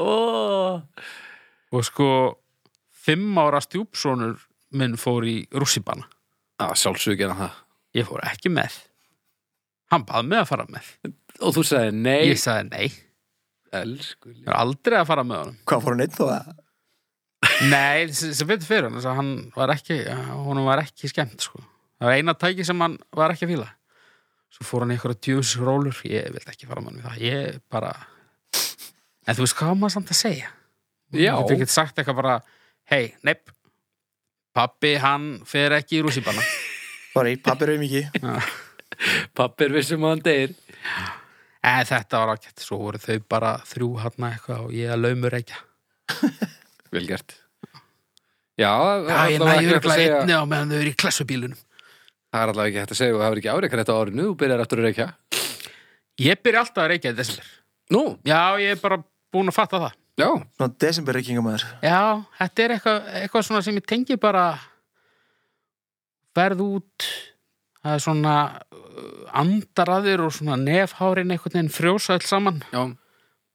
Oh.
Og sko, fimm ára stjúpsonur minn fór í rússibanna.
Já, sjálfsög gera það.
Ég fór ekki með. Hann bað mig að fara með.
Og þú sagði nei.
Ég sagði nei.
Elsku.
Ég er aldrei að fara með honum.
Hvað fór hann einn þó að?
Nei, sem sem betur fyrir hann, hann var ekki, honum var ekki skemmt, sko. Það var eina tæki sem hann var ekki að fíla. Svo fór hann í eitthvað djöfnsrólur, ég vildi ekki fara mann við það, ég bara... En þú veist hvað á maður samt að segja?
Já.
Þú getur sagt eitthvað bara, hei, nepp, pappi, hann fer ekki í rússipanna.
Bara í pappi raum ekki.
Pappir vissum að hann deyr
En þetta var ágætt, svo voru þau bara þrjú hann eitthvað og ég að laumur ekki.
Vel gert Já,
Já,
það er
ég
allavega ekki hægt
nægur
að
eitthvað
segja
einni á meðan þau eru í klessubílunum.
Það er allavega ekki hægt að segja og það er ekki áreikar þetta á árinu og byrjar aftur að reykja
Ég byrja alltaf að reykja í desember.
Nú,
Já, ég er bara búin að fatta það.
já,
Svona desemberreikingamæður.
Já, þetta er eitthvað, eitthvað svona sem ég tengi bara verð út það er svona uh, andaraðir og svona nefhárin einhvern veginn frjósa alls saman
já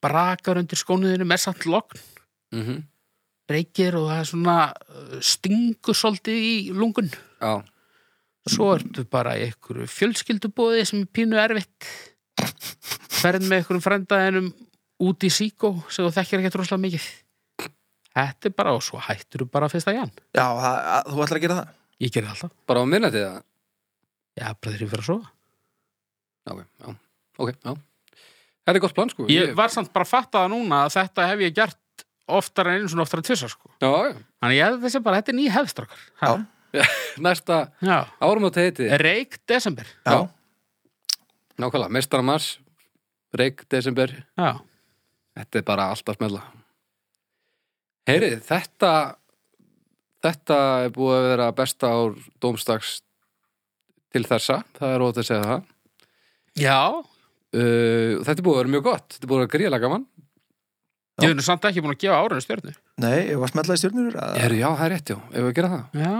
brakar undir skónuðinu með samt lokn
mm
reykir og það er svona uh, stingur svolítið í lungun
Já,
svo ertu bara í einhverju fjölskyldubóði sem er pínu erfitt ferð með einhverjum frendaðinum út í síkó sem þú þekkir ekki rosalega mikið Þetta er bara og svo hættur þú bara fyrsta jan
Já, það, að, þú ætlar að gera það?
Ég gerði alltaf.
bara á minnatið það
Já, bara þegar ég fyrir að sofa.
Já, ok, já, ok, já Þetta er gott plan, sko
Ég var samt bara að fatta það núna að þetta hef ég gert oftar en einu svona oftar en tvissar, sko.
Já, já,
Þannig ég held þessi bara, þetta er ný hefðstrakar.
Já.
næsta
Já.
árum á teiti
Reik desember.
Já. Nákvæmlega, mestara mars Reik, desember
Já.
Þetta er bara allt að smella Heyrið, þetta þetta er búið að vera besta ár dómstags til þessa, það er ótt að segja það
Já.
uh, Þetta er búið að vera mjög gott Þetta er búið að vera gríðlega gaman
Ég hef nú samt ekki búin að gefa árinu stjörnu.
Nei, ég var smetlaði stjórnur.
Heyrið, já, það er rétt, já, ef við að gera það
Já.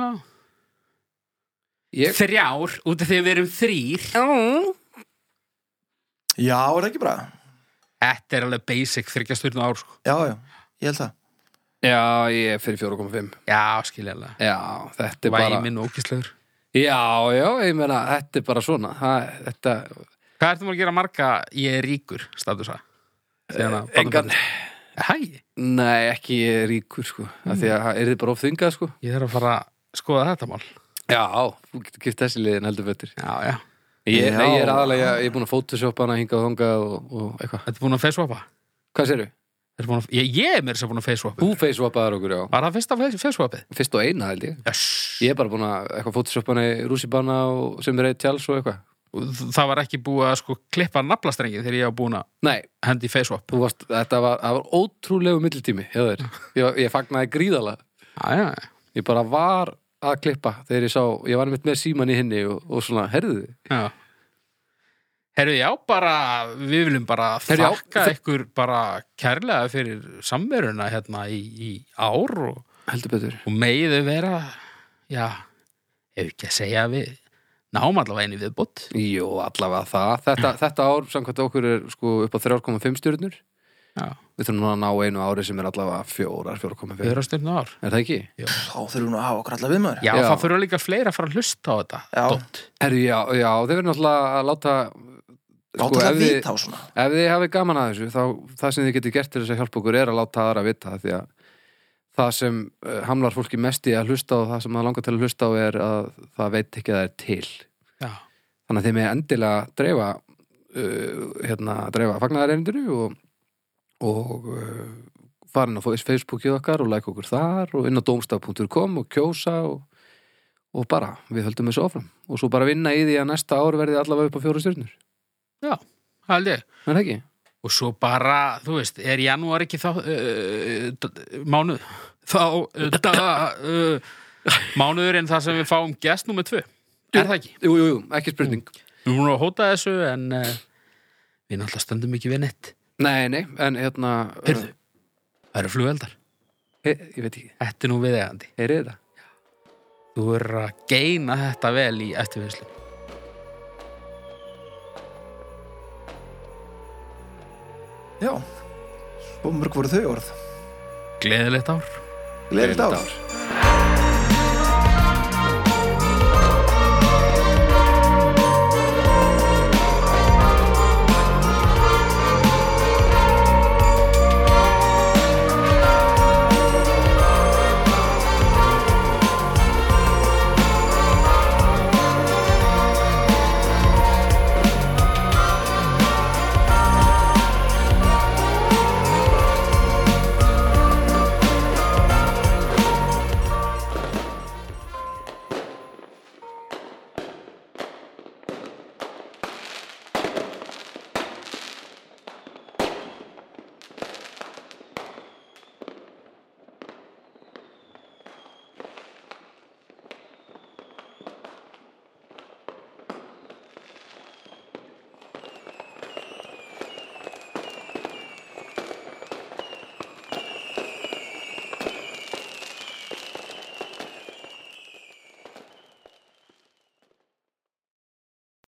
Ég,
Þrjár, út af því að við erum þrýr.
Já, er það ekki bra?
Þetta er alveg basic þryggja stjörnu ár, sko.
Já, já, ég held það.
já, ég er fyrir 4,5
Já, skiljaðlega.
Já, þetta er bara
Væminn og ókíslegur.
Já, já, ég meina, þetta er bara svona það, Þetta,
Hvað ertu maður að gera marga ég er ríkur, statusa?
engan
Hæ,
Nei, ekki ég er ríkur, sko mm. Því að það er þið bara ofþingað, sko
ég þarf að fara að skoða þetta mál.
Já, þú getur gift þessi liðin heldur betur
Já, já.
Ég,
Já.
nei, ég er aðalega, ég er búin að photoshop hana hingað og þangað og, og eitthvað
Þetta er búin að faceapa?
Hvað sérðu?
Ertu búin að- Ég, ég er mér sem búin að faceapa
Þú facewapaðar okkur, já
Var það fyrsta face- faceapið?
Fyrst og eina, held ég
Yes.
Ég er bara búin að eitthvað photoshop hana í rússibanna og sem er eitt tjáls og eitthvað
Það var ekki búið að sko klippa naflastrengið þegar ég var búin að
Nei,
hendi faceap
þú varst, þetta var, það var ótrúlegu millitími, hjá þér Ég, ég fagnaði gríðala
Já, já,
Ég bara var að klippa þegar ég sá, ég var mitt með síman í henni og, og svona, herðu
já Herru, já, bara, við viljum bara
Heyrðu, já,
þakka
þe-
ykkur bara kærlega fyrir samveruna hérna í, í ár og,
Heldur betur
og megiðu vera, já, ef ekki að segja að við náum allavega einu viðbútt.
Jó, allavega það Þetta, þetta ár, samkvæmt okkur, er sko upp á 3,5 stjörnur
Já,
Við þurfum núna að ná einu ári sem er allavega fjórar, 4,5
við erum stundin ár.
Er það ekki?
Þá þurfum við nú að hafa okkur allar við maður.
Já,
Já.
það fyrir líka fleira að fara að hlusta á þetta.
Já.
Dott.
Herru, já, já, þeir verður náttúrulega að láta sko,
Láta
ef
það
þið-
vita á svona.
Ef þið hafið gaman að þessu, þá það sem þið getur gert til þess að hjálpa okkur er að láta aðra vita það, því að það sem uh, hamlar fólki mest í að hlusta og það sem það langar til að hlusta á er að það veit ekki að það er til.
Já.
Þannig að þið með endilega dreifa uh, hérna, dreifa fagnaðareinindinu og, og uh, farin á Facebookið okkar og like okkur þar og inn á domstaf.com og kjósa og, og bara, við höldum þessu áfram og svo bara vinna í því að næsta ár verði allavega upp á fjóra stjörnur.
Það held ég.
Er það ekki?
Og svo bara, þú veist, er janúar ekki þá uh, d- mánuð? Þá uh, da- uh, mánuður en það sem við fáum gest nummer tvö. Er það ekki? Mm.
Jú, jú, jú, ekki spurning.
Við vorum að hóta þessu en uh, við náttúrulega stöndum ekki við nett.
Nei, nei, en hérna
Heyrðu, það eru flugeldar.
he, Ég veit ekki,
Þetta er nú viðegandi.
heyrið þetta?
Þú verður að geina þetta vel í eftirvinnslu.
Já, svo mörg voru þau orð.
Gleðilegt ár.
Gleðið
Gleðilegt
ár.
ár.